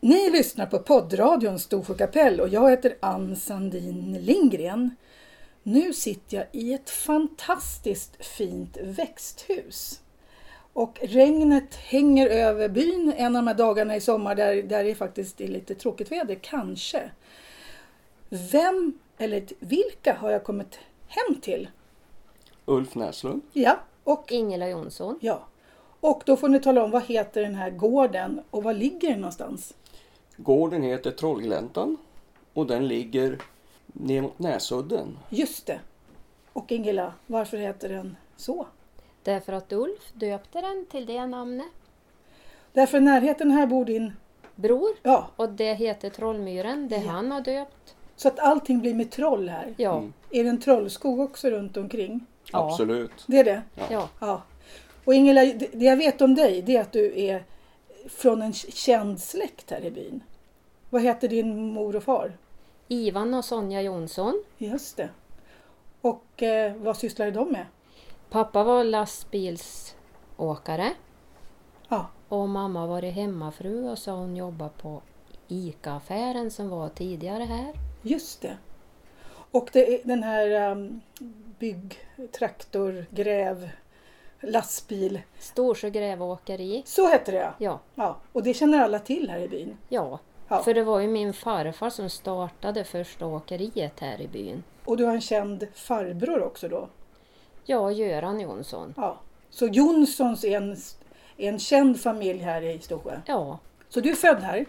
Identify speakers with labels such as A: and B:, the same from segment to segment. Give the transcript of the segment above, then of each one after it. A: Ni lyssnar på poddradion Storsjö kapell och jag heter Ann Sandin Lindgren. Nu sitter jag i ett fantastiskt fint växthus. Och regnet hänger över byn en av de här dagarna i sommar där, där det faktiskt är lite tråkigt väder, kanske. Vem eller t- vilka har jag kommit hem till?
B: Ulf Näslund.
A: Ja, och
C: Ingela Jonsson.
A: ja. Och då får ni tala om vad heter den här gården och var ligger den någonstans?
B: Gården heter Trollgläntan och den ligger ner mot Näsudden.
A: Just det. Och Ingela, varför heter den så?
C: Därför att Ulf döpte den till det namnet.
A: Därför i närheten här bor din...
C: Bror.
A: Ja,
C: Och det heter Trollmyren, det han har döpt.
A: så att allting blir med troll här.
C: Ja.
A: Är det en trollskog också runt omkring?
C: Ja.
B: Absolut.
A: Det är det?
C: ja.
A: Ja. Och Ingela, det det jag vet om dig det är att du är från en k- känd släkt här i byn. Vad heter din mor och far?
C: Ivan och Sonja Jonsson.
A: Just det. Och eh, vad sysslar de med?
C: Pappa var lastbilsåkare
A: Ja,
C: och mamma var hemmafru och så hon jobbade på ICA-affären som var tidigare här.
A: just det. Och det är den här um, bygg, traktor, gräv, lastbil.
C: Storsjö grävåkeri.
A: Så heter det ja.
C: Ja,
A: ja. Och det känner alla till här i byn.
C: ja.
A: Ja.
C: För det var ju min farfar som startade första åkeriet här i byn.
A: Och du har en känd farbror också då?
C: Ja, Göran Jonsson.
A: Ja. Så Jonssons är en, är en känd familj här i Storsjö.
C: Ja,
A: Så du är född här?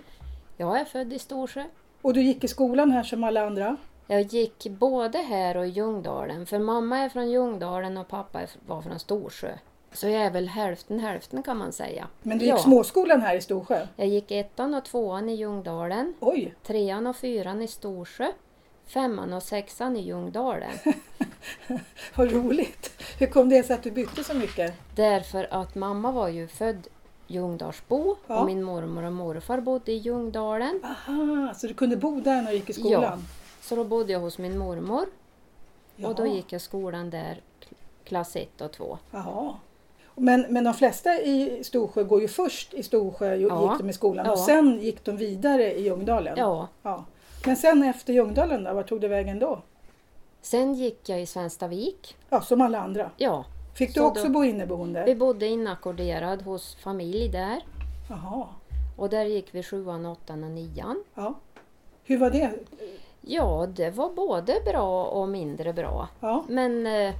C: jag är född i Storsjö.
A: Och du gick i skolan här som alla andra?
C: Jag gick både här och i Ljungdalen, för mamma är från Ljungdalen och pappa är- var från Storsjö. Så jag är väl hälften hälften kan man säga.
A: Men du gick
C: ja,
A: småskolan här i Storsjö?
C: Jag gick ettan och tvåan i Ljungdalen,
A: Oj!
C: trean och fyran i Storsjö, femman och sexan i Ljungdalen.
A: Vad roligt! Hur kom det sig att du bytte så mycket?
C: Därför att mamma var ju född Ljungdalsbo
A: Ja.
C: och min mormor och morfar bodde i Ljungdalen.
A: Aha, så du kunde bo där när du gick i skolan?
C: Så då bodde jag hos min mormor
A: Ja.
C: och då gick jag skolan där k- klass 1 och 2.
A: Jaha. Men, men de flesta i Storsjö går ju först i Storsjö ju-
C: Ja.
A: gick de i skolan och
C: Ja.
A: sen gick de vidare i Ljungdalen.
C: Ja,
A: Ja. Men sen efter Ljungdalen då, vart tog du vägen då?
C: sen gick jag i Svenstavik.
A: Ja, som alla andra.
C: Ja,
A: Fick du
C: Så
A: också
C: då-
A: bo inneboende?
C: vi bodde inackorderad hos familj där.
A: Jaha.
C: Och där gick vi sjuan, åttan och nian.
A: Ja. Hur var det?
C: Ja, det var både bra och mindre bra.
A: Ja.
C: Men eh,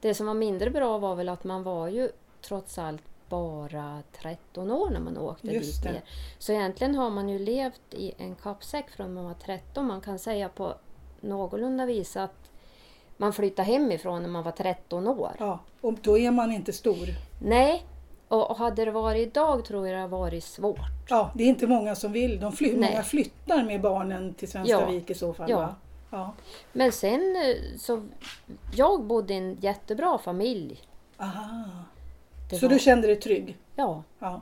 C: det som var mindre bra var väl att man var ju trots allt bara 13 år när man åkte
A: Just
C: dit
A: det.
C: ner. Så egentligen har man ju levt i en kappsäck från man var 13. Man kan säga på någorlunda vis att man flyttade hemifrån när man var 13 år.
A: ja. Och då är man inte stor.
C: Nej, och och hade det varit idag tror jag det hade varit svårt.
A: Ja, det är inte många som vill. De fly,
C: Nej.
A: många flyttar med barnen till Svenstavik i så fall.
C: Ja.
A: Va? Ja.
C: Men sen eh, så, jag bodde i en jättebra familj.
A: Aha.
C: Det
A: Så
C: var-
A: du kände dig trygg?
C: Ja,
A: Ja,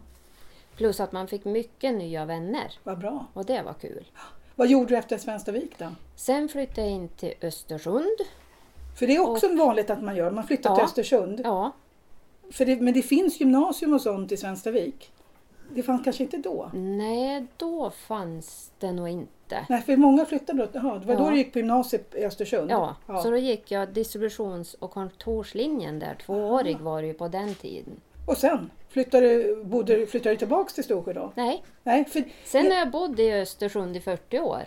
C: plus att man fick mycket nya vänner
A: vad bra.
C: och det var kul.
A: Vad gjorde du efter Svenstavik då?
C: Sen flyttade jag in till Östersund.
A: För det är också vanligt att man gör, man flyttar till
C: Ja.
A: Östersund.
C: Ja,
A: För det, men det finns gymnasium och sånt i Svenstavik. Det fanns kanske inte då?
C: nej då fanns det nog inte.
A: Nej, för många flyttade då. Jaha, det var då
C: Ja.
A: du gick på gymnasiet i Östersund?
C: Ja, så då gick jag distributions och kontorslinjen där. Tvåårig var det ju på den tiden.
A: Och sen? Flyttade, du- bodde, du- flyttade du tillbaks till Storsjö då?
C: Nej,
A: Nej, för
C: sen har jag bott i Östersund i 40 år.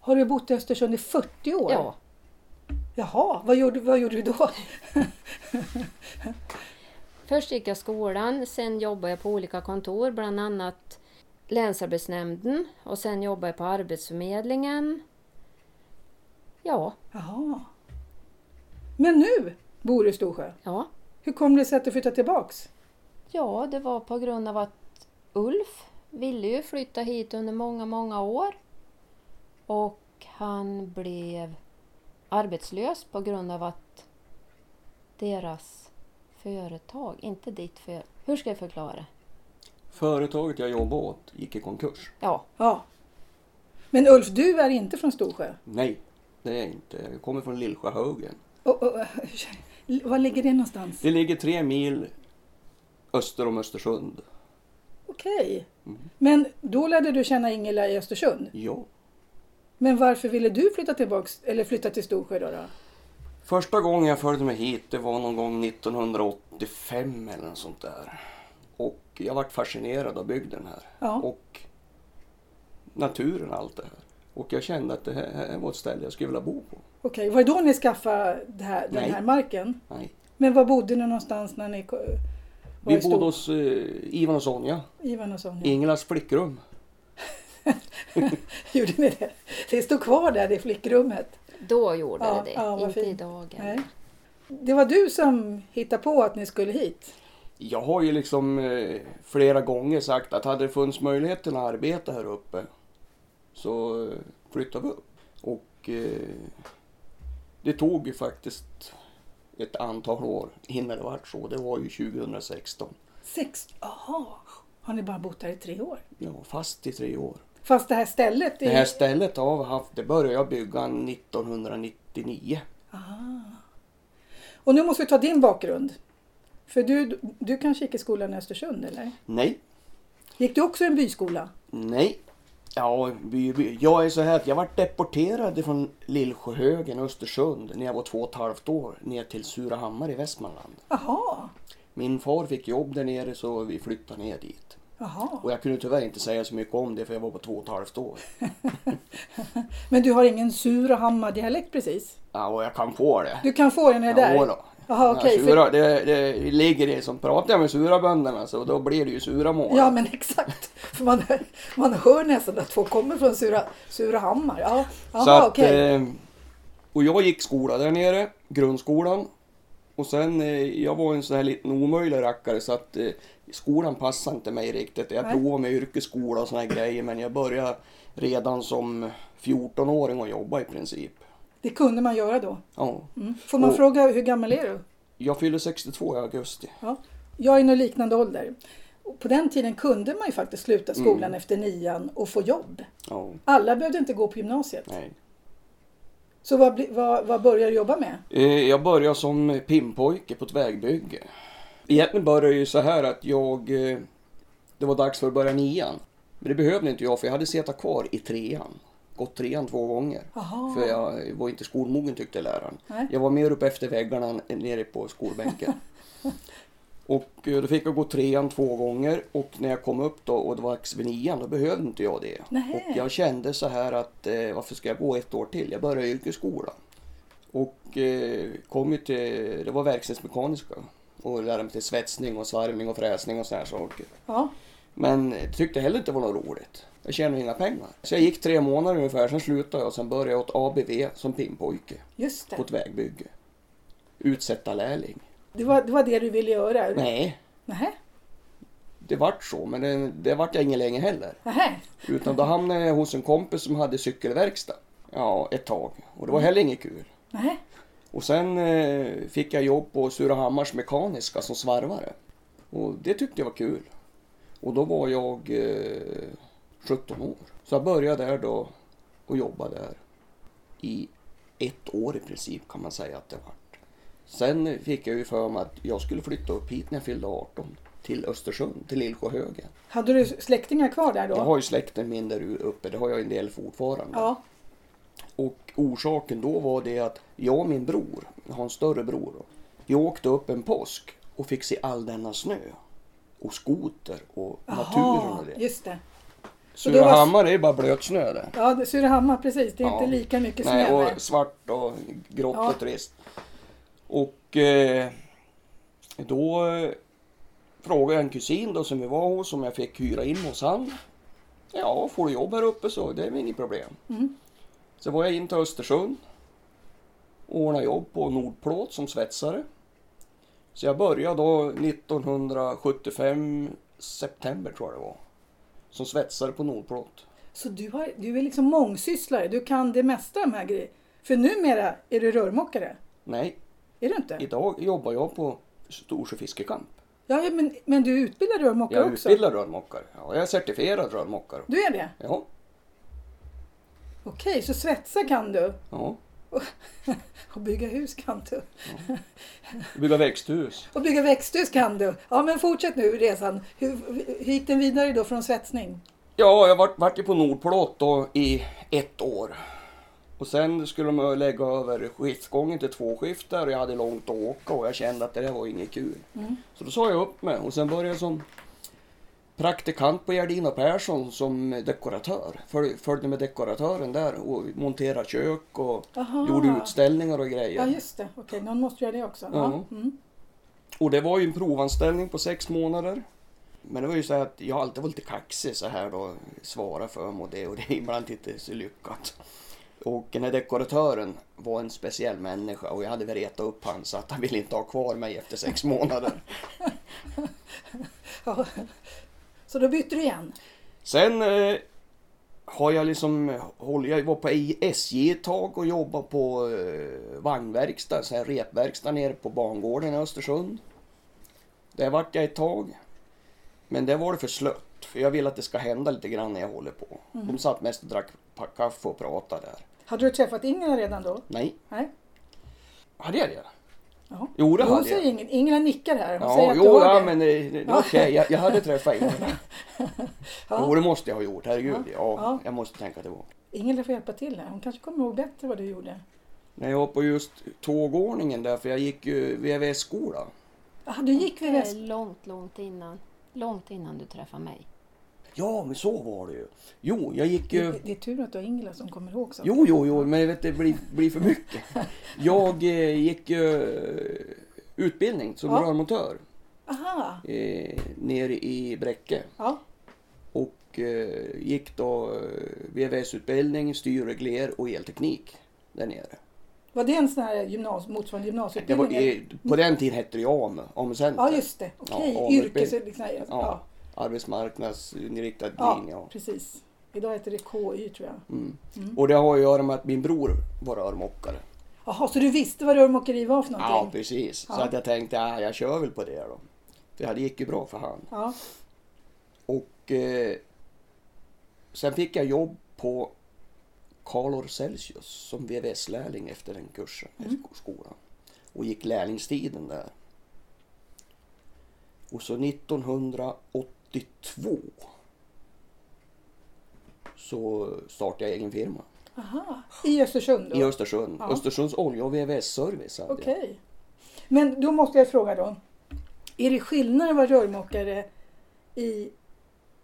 A: har du bott i Östersund i 40 år?
C: Ja,
A: Jaha, vad gjorde, vad gjorde du då?
C: Först gick jag skolan, sen jobbade jag på olika kontor, bland annat Länsarbetsnämnden och sen jobbade jag på Arbetsförmedlingen. Ja,
A: Jaha. Men nu bor du i Storsjö.
C: ja,
A: Hur kom det sig att du flyttade tillbaks?
C: ja, det var på grund av att Ulf ville ju flytta hit under många, många år. Och han blev arbetslös på grund av att deras företag, inte ditt företag, hur ska jag förklara?
B: Företaget jag jobbade åt gick i konkurs.
C: Ja,
A: Ja. Men Ulf, du är inte från Storsjö?
B: Nej, det är jag inte. Jag kommer från Lillsjöhögen.
A: Och, och, var ligger det någonstans?
B: Det ligger tre mil öster om Östersund.
A: Okej.
B: Mm.
A: Men då lärde du känna Ingela i Östersund.
B: Ja.
A: Men varför ville du flytta tillbaks, eller flytta till Storsjö då? då?
B: Första gången jag följde mig hit det var någon gång 1985 eller något sånt där. Och jag vart fascinerad av bygden här.
A: Ja.
B: Och naturen och allt det här. Och jag kände att det här, här var ett ställe jag skulle vilja bo på.
A: Okej, var det då ni skaffade det här, den
B: Nej.
A: här marken?
B: Nej.
A: Men var bodde ni någonstans när ni ko- var
B: Vi
A: i Stor-
B: bodde hos eh, Ivan och Sonja,
A: Ivan och Sonja.
B: Ingelas flickrum.
A: Gjorde ni det? Det stod kvar där i flickrummet.
C: Då gjorde
A: Ja,
C: det det,
A: ja, vad
C: inte
A: fint.
C: idag. än.
A: Nej. Det var du som hittade på att ni skulle hit.
B: Jag har ju liksom eh, flera gånger sagt att hade det funnits möjlighet till att arbeta här uppe så eh, flyttar vi upp. Och eh, det tog ju faktiskt ett antal år innan det vart så. Det var ju 2016.
A: Sex, aha. Har ni bara bott här i tre år?
B: Jag var fast i tre år.
A: Fast det här stället?
B: Det här stället har vi haft, det började jag bygga 1999.
A: Och nu måste vi ta din bakgrund. För du, du kanske gick i skolan i Östersund eller?
B: Nej,
A: Gick du också i en byskola?
B: Nej. Ja, by, by. jag är så här att jag vart deporterad från Lillsjöhögen, Östersund, när jag var två och ett halvt år ner till Surahammar i Västmanland.
A: Aha.
B: Min far fick jobb där nere så vi flyttade ner dit.
A: Aha.
B: Och jag kunde tyvärr inte säga så mycket om det för jag var på två och ett halvt år.
A: Men du har ingen Surahammar-dialekt precis?
B: Ja, och jag kan få det.
A: Du kan få den här där?
B: Jodå.
A: Jaha,
B: Ja,
A: okej, för-
B: sura, det, det ligger i som pratar jag med surabönderna så då blir det ju suramål.
A: Ja men exakt. För man, man hör nästan att folk kommer från Sura, Surahammar. Ja.
B: Så
A: Aha,
B: att,
A: okej.
B: eh, och jag gick skola där nere, grundskolan. Och sen, eh, jag var en sån här liten omöjlig rackare så att eh, skolan passade inte mig riktigt. Jag
A: Nej.
B: provade med yrkesskola och såna här grejer men jag började redan som 14-åring och jobba i princip.
A: Det kunde man göra då.
B: Ja.
A: Mm. Får man
B: Och-
A: fråga hur gammal är du?
B: Jag fyllde 62 i augusti.
A: Ja. Jag är nog liknande ålder. Och På den tiden kunde man ju faktiskt sluta skolan
B: Mm.
A: efter nian och få jobb.
B: Ja,
A: Alla behövde inte gå på gymnasiet.
B: nej.
A: Så vad, bli- vad, vad började du jobba med?
B: Eh, Jag började som pimpojke på ett vägbygge. Egentligen började det ju så här att jag... eh, Det var dags för att börja nian. Men det behövde inte jag för jag hade suttit kvar i trean. Gått trean två gånger.
A: Aha.
B: För jag var inte skolmogen tyckte läraren.
A: Nej.
B: Jag var mer uppe efter väggarna än nere på skolbänken. och eh, då fick jag gå trean två gånger och när jag kom upp då och det var dags för nian då behövde inte jag det.
A: Nej.
B: Och jag kände så här att eh, varför ska jag gå ett år till? Jag började i yrkesskolan. Och eh, kom ju till, det var verkstadsmekaniska och lärde mig till svetsning och svarvning och fräsning och sådana här saker.
A: Ja.
B: Men jag tyckte heller inte det var något roligt. Jag tjänade inga pengar. Så jag gick tre månader ungefär, sen slutade jag och sen började jag åt ABV som pimpojke
A: Just
B: på
A: det.
B: ett vägbygge. Utsätta lärling.
A: Det var, det var det du ville göra?
B: Nej,
A: Nähä.
B: det vart så, men det, det vart jag ingen länge heller.
A: Nähä.
B: Utan då hamnade jag hos en kompis som hade cykelverkstad. Ja, ett tag. Och det
A: Mm.
B: var heller inget kul.
A: Nähä.
B: Och sen eh, fick jag jobb på Surahammars Mekaniska som svarvare. Och det tyckte jag var kul. Och då var jag eh, 17 år. Så jag började där då och jobbade där i ett år i princip kan man säga att det var. Sen fick jag ju för mig att jag skulle flytta upp hit när jag fyllde 18 till Östersund, till Lillsjöhögen.
A: Hade du släktingar kvar där då?
B: Jag har ju släkten min där uppe, det har jag en del fortfarande.
A: Ja.
B: Och orsaken då var det att jag och min bror, jag har en större bror då, vi åkte upp en påsk och fick se all denna snö. Och skoter och naturen
A: Aha,
B: och det.
A: just det. Så det var-
B: Surahammar är ju bara blöt snö där.
A: Ja, det- Surahammar precis. Det är
B: Ja.
A: inte lika mycket snö.
B: Nej,
A: där.
B: och svart och grått
A: Ja.
B: och trist. Och eh, då eh, frågade jag en kusin då som vi var hos om jag fick hyra in hos han. Ja, får du jobb här uppe så det är väl inget problem.
A: Mm.
B: Så var jag in till Östersund och ordnade jobb på Nordplåt som svetsare. Så jag började då 1975 september tror jag det var. Som svetsare på Nordplåt.
A: Så du, har, du är liksom mångsysslare. Du kan det mesta av de här grejerna. För numera är du rörmokare.
B: Nej,
A: Är du inte?
B: Idag jobbar jag på Storsjö fiskekamp.
A: Ja, ja, men, men du är utbildad rörmokare
B: Jag är
A: också?
B: utbildad rörmokare. Ja, jag är certifierad rörmokare.
A: Du är det?
B: Ja,
A: Okej, så svetsa kan du.
B: ja.
A: Och Och bygga hus kan du.
B: Bygga växthus.
A: Och bygga växthus kan du. Ja men fortsätt nu resan. Hur, hur gick den vidare då från svetsning?
B: Ja, jag vart, vart ju på Nordplåt då i ett år. Och sen skulle de lägga över skiftgången till två skiftar och jag hade långt att åka och jag kände att det där var inget kul.
A: Mm.
B: Så då sa jag upp mig och sen började jag som praktikant på Gerdin och Persson som dekoratör. Föl- Följde med dekoratören där och monterade kök och
A: Aha.
B: gjorde utställningar och
A: Ja
B: grejer.
A: just det, okej någon måste göra det också. Ja.
B: Ja.
A: Mm.
B: Och det var ju en provanställning på sex månader. Men det var ju så här att jag alltid var lite kaxig så här då. Svara för mig och det och det är ibland inte så lyckat. Och den här dekoratören var en speciell människa och jag hade väl retat upp han så att han ville inte ha kvar mig efter sex månader.
A: Ja. Så då bytte du igen?
B: Sen eh, har jag liksom, håll- jag var på SJ ett tag och jobbade på eh, vagnverkstad, så här repverkstad nere på bangården i Östersund. Där vart jag ett tag. Men där var det för slött, för jag vill att det ska hända lite grann när jag håller på.
A: Mm.
B: De satt mest och drack pa- kaffe och pratade där.
A: Hade du träffat Ingela redan då?
B: Nej,
A: Nej?
B: hade jag det?
A: Ja.
B: Jo, det
A: hon
B: hade jag.
A: säger ingen, Ingela nickar här. Hon säger
B: Ja,
A: att
B: jo,
A: du har
B: ja,
A: det.
B: men det, det, det
A: Ja.
B: är okej. Jag, jag hade träffat Ingela.
A: Ja.
B: Jo, det måste jag ha gjort. Herregud,
A: Ja.
B: ja.
A: Ja.
B: Jag måste tänka tillbaka.
A: Ingela får hjälpa till här. Hon kanske kommer ihåg bättre vad du gjorde.
B: När jag var på just tågordningen där, för jag gick ju VVS-skola.
A: Ah, du gick vid
C: Det är
A: väst.
C: Eh, långt, långt innan. Långt innan du träffade mig.
B: Ja, men så var det ju. Jo, jag gick ju...
A: Det, det är tur att du har Ingela som kommer ihåg saker.
B: Jo, jo, jo, men vet, du, det blir, blir för mycket. Jag eh, gick ju eh, utbildning som
A: Ja.
B: rörmontör
A: Aha!
B: eh, nere i Bräcke.
A: Ja.
B: Och eh, gick då eh, VVS-utbildning, styrregler och elteknik där nere.
A: Var det en sån här gymnasie, motsvarande
B: Det var,
A: gymnasieutbildning?
B: eh, på den tiden hette det ju AMU, AMU-center.
A: Ja, just det. Okej,
B: Ja,
A: yrkes...
B: AMU-utbildning.
A: Liksom, ja.
B: Ja,
A: Ja.
B: arbetsmarknadsinriktad
A: Ja,
B: linje. ja.
A: precis. Idag heter det KY tror jag.
B: Mm. Och det har att göra med att min bror var rörmokare.
A: Jaha, så du visste vad rörmokeri var för
B: Ja,
A: någonting?
B: precis.
A: Ja.
B: Så att jag tänkte, ah, jag kör väl på det då. För det gick ju bra för han.
A: Ja,
B: Och eh, sen fick jag jobb på Calor Celsius som VVS-lärling efter den kursen, efter skolan. Och gick lärlingstiden där. Och så 1982 så startade jag egen firma
A: aha. I Östersund
B: i
A: då?
B: Östersund.
A: Ja.
B: Östersunds olja och VVS-service hade
A: Okej. Men då måste jag fråga då. Är det skillnad att vara rörmokare i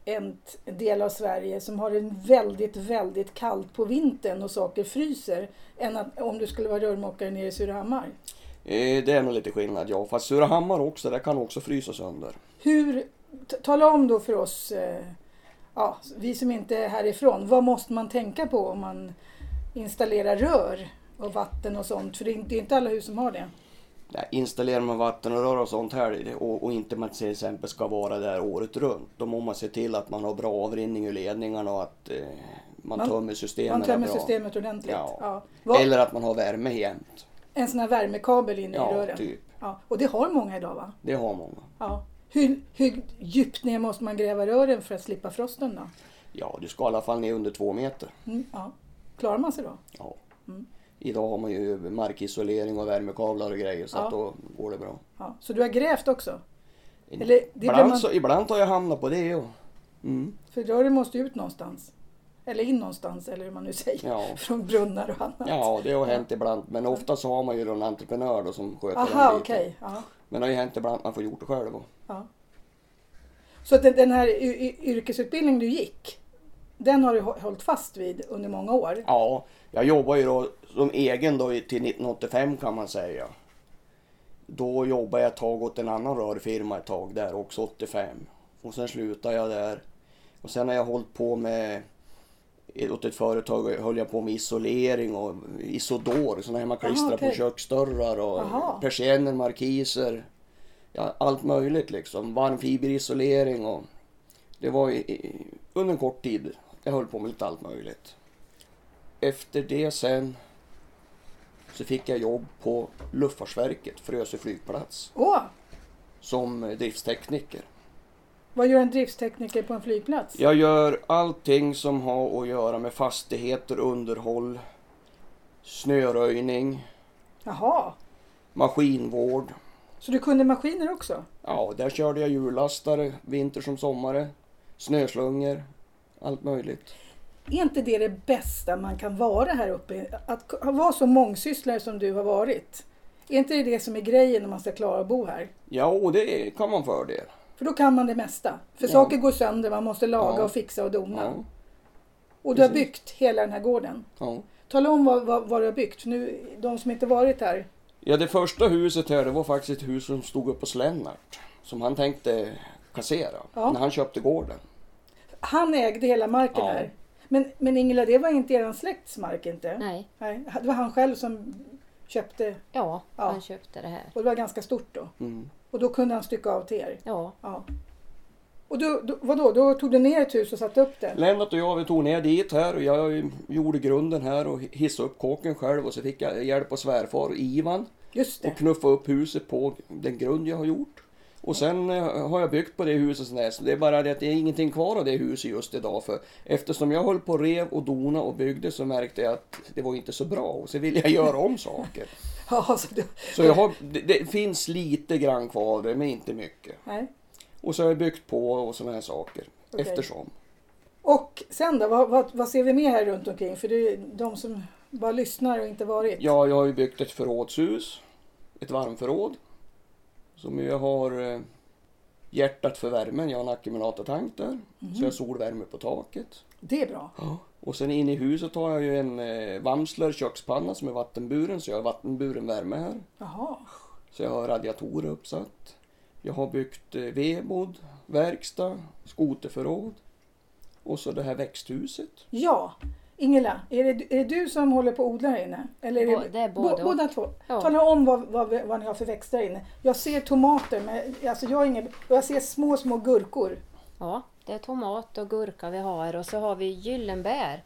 A: en t- en del av Sverige som har en väldigt, väldigt kallt på vintern och saker fryser än att, om du skulle vara rörmokare nere i Surahammar?
B: jag. Eh, Det är nog lite skillnad ja. Fast Surahammar också, det kan också frysa sönder.
A: Hur, t- tala om då för oss, eh, ja, vi som inte är härifrån, vad måste man tänka på om man installerar rör och vatten och sånt? För det är inte- det är inte alla hus som har det.
B: Nej, installerar man vattenrör och sånt här och, och inte man till exempel ska vara där året runt. Då måste man se till att man har bra avrinning ur ledningarna och att eh, man,
A: Man-
B: tömmer systemen
A: Man tömmer
B: bra.
A: systemet ordentligt.
B: Ja.
A: Vad-
B: Eller att man har värme jämt.
A: En sån här värmekabel in i
B: Ja,
A: rören?
B: typ.
A: Ja, och det har många idag va?
B: Det har många.
A: Ja. Hur, hur djupt ner måste man gräva rören för att slippa frosten då?
B: Ja, du ska i alla fall ner under två meter.
A: Mm, ja. Klarar man sig då?
B: Ja.
A: Mm.
B: Idag har man ju markisolering och värmekablar och grejer så
A: Ja.
B: att då går det bra.
A: Ja. Så du har grävt också? Eller det blir
B: ibland,
A: man-
B: så, ibland har jag hamnat på det. Och, mm,
A: För rören måste ju ut någonstans. Eller in någonstans eller hur man nu säger.
B: Ja.
A: Från brunnar och annat.
B: ja, det har hänt ibland. Men ofta så har man ju en entreprenör då som sköter
A: Aha,
B: den biten.
A: okej. Ja.
B: Men det har ju hänt ibland att man får gjort det själv. och-
A: Ja. Så att den, den här y- y- yrkesutbildningen du gick, den har du hå- hållit fast vid under många år?
B: Ja, jag jobbar ju då som egen då i- till 1985 kan man säga. Då jobbade jag ett tag åt en annan rörfirma ett tag där också 85. Och sen slutade jag där. Och sen har jag hållit på med åt ett företag höll jag på med isolering och Isodor, sådana här man klistrar
A: Aha, okej.
B: på köksdörrar och
A: Aha.
B: persienner, markiser. Ja, allt möjligt liksom. Varmfiberisolering och det var i, i, under en kort tid. Jag höll på med lite allt möjligt. Efter det sen så fick jag jobb på Luftfartsverket, Frösö flygplats,
A: Åh,
B: som eh, driftstekniker.
A: vad gör en driftstekniker på en flygplats?
B: Jag gör allting som har att göra med fastigheter, underhåll, snöröjning,
A: Jaha,
B: maskinvård.
A: så du kunde maskiner också?
B: Ja, där körde jag hjullastare vinter som sommare, snöslungor, allt möjligt.
A: Är inte det det bästa man kan vara här uppe? Att k- vara så mångsysslare som du har varit. Är inte det det som är grejen när man ska klara att bo här?
B: Ja, och det kan man fördel.
A: För då kan man det mesta. För
B: Ja.
A: saker går sönder, man måste laga
B: Ja.
A: och fixa och dona.
B: Ja,
A: och du har
B: precis.
A: byggt hela den här gården.
B: ja.
A: Tala om vad, vad, vad du har byggt, nu, de som inte varit här.
B: ja, det första huset här det var faktiskt ett hus som stod uppe hos Lennart. Som han tänkte kassera
A: Ja.
B: när han köpte gården.
A: Han ägde hela marken
B: Ja.
A: här. Men, men Ingela, det var inte er släkts mark inte?
C: Nej,
A: Nej. Det var han själv som köpte
C: ja,
A: Ja.
C: han köpte det här.
A: och det var ganska stort då.
B: Mm.
A: Och då kunde han stycka av till er?
C: Ja,
A: Ja. Och då, då, vadå, då tog du ner ett hus och satte upp det?
B: Lennart och jag vi tog ner dit här och jag gjorde grunden här och hissade upp kåken själv och så fick jag hjälp av svärfar och Ivan
A: Just det.
B: och knuffa upp huset på den grund jag har gjort. Och sen eh, har jag byggt på det huset sen dess. Det är bara det att det är ingenting kvar av det huset just idag. För eftersom jag höll på och rev och dona och byggde så märkte jag att det var inte så bra. Och så ville jag göra om saker.
A: Ja, så du,
B: Så jag har, det, det finns lite grann kvar av det, men inte mycket.
A: nej.
B: Och så har jag byggt på och sådana här saker.
A: Okej.
B: Eftersom.
A: Och sen då, vad, vad, vad ser vi mer här runt omkring? För det är de som bara lyssnar och inte varit.
B: Ja, jag har ju byggt ett förrådshus. Ett varmförråd. Som jag har eh, hjärtat för värmen. Jag har en ackumulatortank där. Så jag har solvärme på taket.
A: Mhm. Det är bra.
B: Och sen in i huset har jag ju en eh, Wamsler kökspanna som är vattenburen. Så jag har vattenburen värme här.
A: Jaha.
B: Så jag har radiatorer uppsatt. Jag har byggt eh, vedbod, verkstad, skoterförråd. Och så det här växthuset.
A: Ja, Ingela, är det, är det du som håller på att odla här inne? Eller är
C: Bå- det är både och.
A: båda två.
C: Ja.
A: Tala om vad, vad, vad ni har för växter här inne. Jag ser tomater, men alltså jag, har ingen, och jag ser små, små gurkor.
C: ja, det är tomat och gurka vi har och så har vi gyllenbär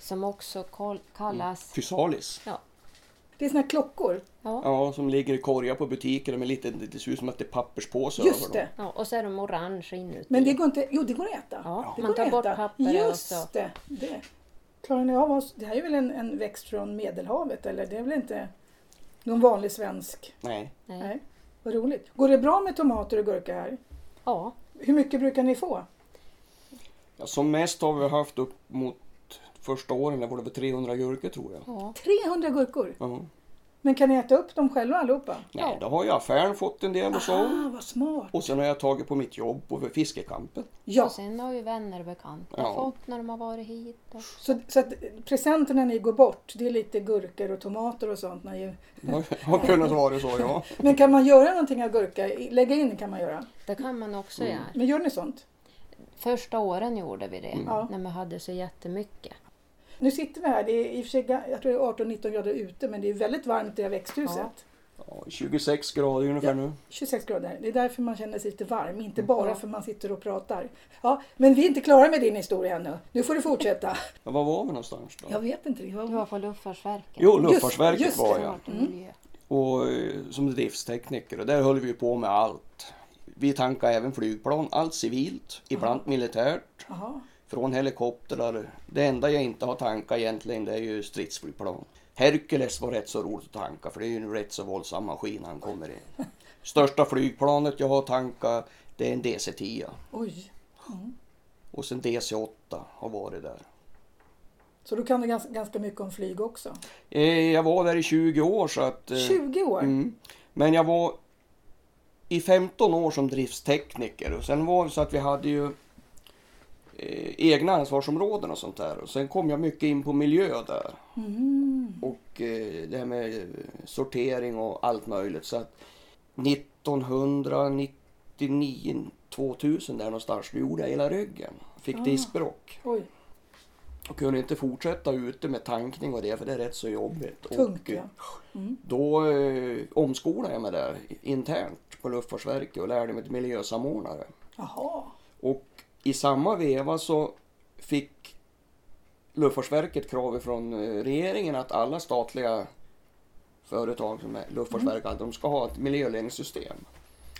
C: som också kol-
A: Mm.
C: kallas...
B: Physalis.
C: Ja,
A: Det är såna här klockor.
C: ja,
B: Ja, som ligger i korgar på butiker. med lite, det ser ut som att det är papperspåsar över
A: Just
B: dem.
A: det.
C: ja, och så är de orange inuti.
A: Men det går inte, jo det går att äta.
C: Ja,
A: det
C: man
A: går
C: tar
A: att
C: bort
A: äta.
C: pappret och
A: Just
C: så.
A: det. det. Klarar ni av oss? Det här är väl en, en växt från Medelhavet eller? Det är väl inte någon vanlig svensk?
B: Nej.
C: Nej.
A: Nej. Vad roligt. Går det bra med tomater och gurka här?
C: Ja,
A: Hur mycket brukar ni få?
B: Ja, som mest har vi haft upp mot första åren, där var det väl 300 gurkor tror jag.
C: ja,
A: 300 gurkor!
B: Ja.
A: Men kan ni äta upp dem själva allihopa?
B: Nej, då har ju affären fått en del och så.
A: Ah, vad smart!
B: Och sen har jag tagit på mitt jobb på fiskekampen.
A: Ja,
C: och sen har ju vänner och bekanta
B: Ja.
C: fått när de har varit hit. Och...
A: så, så att presenterna ni går bort, det är lite gurkor och tomater och sånt. När ju...
B: Det har- har kunnat vara så ja.
A: Men kan man göra någonting av gurka? Lägga in kan man göra.
C: Det kan man också göra.
A: Men gör ni sånt?
C: Första åren gjorde vi det,
A: Mm. Ja. Mm.
C: när man hade så jättemycket.
A: Nu sitter vi här, det är i och för sig, ga- jag tror det är 18-19 grader ute men det är väldigt varmt i det här växthuset.
C: Ja.
B: ja 26 grader ungefär nu.
A: 26 grader, det är därför man känner sig lite varm, inte bara för man sitter och pratar. Ja, men vi är inte klara med din historia ännu, nu får du fortsätta.
B: Ja, var var vi någonstans då?
A: Jag vet inte, det
C: Du
A: var...
C: var på Luftfartsverket. Mm.
B: Jo, Luftfartsverket
A: just det.
B: var jag.
C: Smart och miljö.
B: Och eh, som driftstekniker och där höll vi ju på med allt. Vi tankade även flygplan, allt civilt, ibland militärt,
A: Jaha.
B: från helikoptrar. Det enda jag inte har tankat egentligen det är ju stridsflygplan. Hercules var rätt så roligt att tanka för det är ju en rätt så våldsam maskin när han kommer in. Största flygplanet jag har tankat det är en DC-10
A: Oj,
B: och sen DC-8 har varit där.
A: så du kan du ganska, ganska mycket om flyg också.
B: Eh, Jag var där i 20 år så att... eh,
A: 20 år?
B: Mm. Men jag var i 15 år som driftstekniker och sen var det så att vi hade ju eh, egna ansvarsområden och sånt där. Och sen kom jag mycket in på miljö där.
A: Mm.
B: Och eh, det här med eh, sortering och allt möjligt. Så att 1999, 2000 där någonstans, då gjorde jag hela ryggen. Fick diskbråck.
A: Oj,
B: Och kunde inte fortsätta ute med tankning och det för det är rätt så jobbigt.
A: Tungt,
B: och, eh,
A: ja. Mm.
B: Då eh, omskolade jag mig där internt på Luftfartsverket och lärde mig till miljösamordnare.
A: jaha.
B: Och i samma veva så fick Luftfartsverket krav från eh, regeringen att alla statliga företag som är Luftfartsverket, att de ska ha ett miljöledningssystem.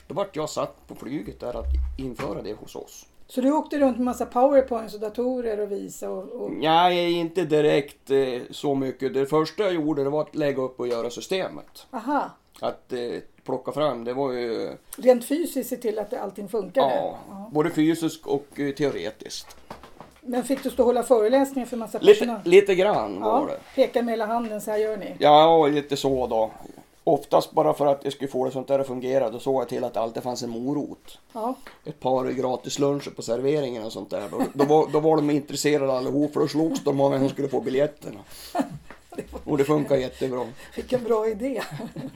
B: Då vart jag satt på flyget där att införa det hos oss.
A: Så du åkte runt med massa powerpoints och datorer och visa och... och...
B: Mm. Nej, inte direkt eh, så mycket. Det första jag gjorde det var att lägga upp och göra systemet.
A: Aha!
B: Att eh, plocka fram, det var ju eh,
A: Rent fysiskt se till att det- allting funkade?
B: ja, både fysiskt och eh, teoretiskt.
A: Men fick du stå och hålla föreläsningar för massa
B: Lite,
A: personal?
B: lite grann
A: Ja,
B: var det.
A: peka med hela handen, så här gör ni.
B: Ja, lite så då. Oftast bara för att jag skulle få det sånt där att fungera, då såg jag till att det alltid fanns en morot.
A: Ja.
B: ett par gratisluncher på serveringen och sånt där. Då, då, var, då var de intresserade allihop för då slogs de om vem som skulle få biljetterna. Och det funkar jättebra.
A: Vilken bra idé!
B: Så,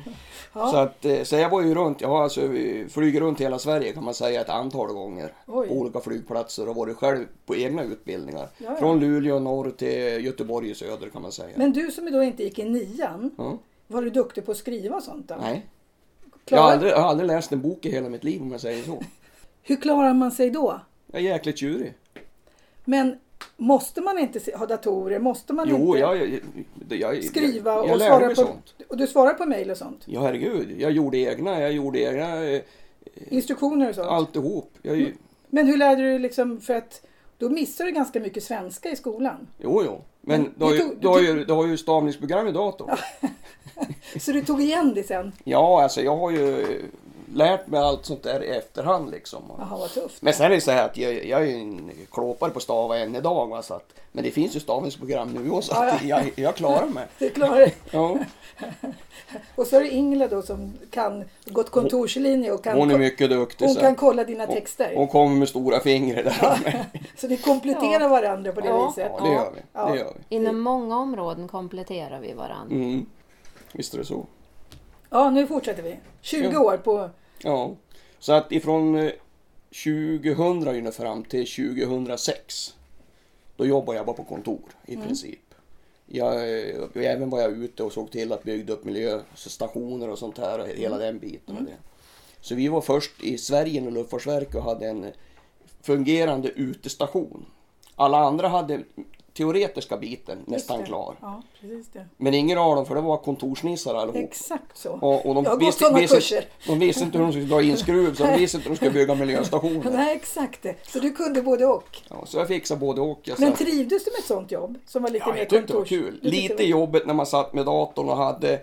A: Ja,
B: att, eh, så jag var ju runt, jag har alltså eh, flugit runt hela Sverige kan man säga ett antal gånger.
A: Oj.
B: På olika flygplatser och varit själv på egna utbildningar.
A: Ja, ja.
B: Från Luleå norr till Göteborg i söder kan man säga.
A: men du som då inte gick i nian,
B: Ja.
A: var du duktig på att skriva och sånt? Då?
B: Nej. Jag har,
A: Klara-
B: aldrig, jag har aldrig läst en bok i hela mitt liv om jag säger så.
A: Hur klarar man sig då?
B: Jag är jäkligt tjurig.
A: Men måste man inte se- ha datorer? Måste man
B: Jo,
A: inte
B: jag, jag, jag,
A: skriva
B: jag,
A: och
B: jag lärde
A: svara
B: mig
A: på...
B: sånt.
A: Och du svarar på mejl och sånt?
B: Ja herregud, jag gjorde egna, jag gjorde egna eh,
A: Instruktioner och sånt?
B: alltihop. Jag,
A: Men hur lärde du liksom, för att då missar du ganska mycket svenska i skolan.
B: Jo, jo. Men,
A: Men
B: du, har
A: det
B: ju,
A: tog-
B: du, har ju, du har ju stavningsprogram i datorn.
A: Så du tog igen det sen?
B: Ja, alltså jag har ju eh, lärt mig allt sånt där i efterhand liksom.
A: Jaha, vad tufft.
B: Men sen är det så här att jag, jag är ju en klåpare på stava än idag. Va? Så att, men det finns ju stavningsprogram nu också.
A: Ja, ja.
B: Att jag, jag klarar mig.
A: Du klarar det.
B: Ja.
A: Och så är det Ingela då som kan gått kontorslinje och kan,
B: Hon är mycket duktig.
A: hon
B: så
A: kan
B: att-
A: kolla dina texter.
B: Hon kommer med stora fingrar där.
A: Så ni kompletterar
C: Ja.
A: varandra på det
C: Ja.
A: viset.
B: Ja, det gör vi.
A: Ja.
B: Det gör vi.
C: Inom många områden kompletterar vi varandra.
B: Mm. Visst är det så.
A: Ja, nu fortsätter vi. 20
B: Ja.
A: år på...
B: Ja, så att ifrån eh, 2000 ungefär fram till 2006 då jobbade jag bara på kontor i
A: Mm.
B: princip. Jag, eh, och även var jag ute och såg till att bygga upp miljöstationer och sånt här, hela
A: Mm.
B: den biten. Och det. Så vi var först i Sverige med Luftfartsverket och hade en fungerande utestation. Alla andra hade teoretiska biten nästan
A: Just det.
B: klar.
A: Ja, precis det.
B: Men ingen av dem, för det var kontorsnissar allihop.
A: Exakt så.
B: Och, och de,
A: Jag har gått
B: visste,
A: sådana
B: visste,
A: kurser.
B: de visste inte hur de skulle dra in skruv, så de visste inte hur de skulle bygga miljöstationer.
A: Nej, exakt det. Så du kunde både och.
B: Ja, så jag fixade både och. Jag,
A: Men
B: sa-
A: trivdes du med ett sånt jobb? Som var lite
B: ja,
A: mer
B: jag tyckte det var
A: kontors-
B: kul.
A: Du tyckte
B: Lite
A: det var-
B: jobbigt när man satt med datorn och hade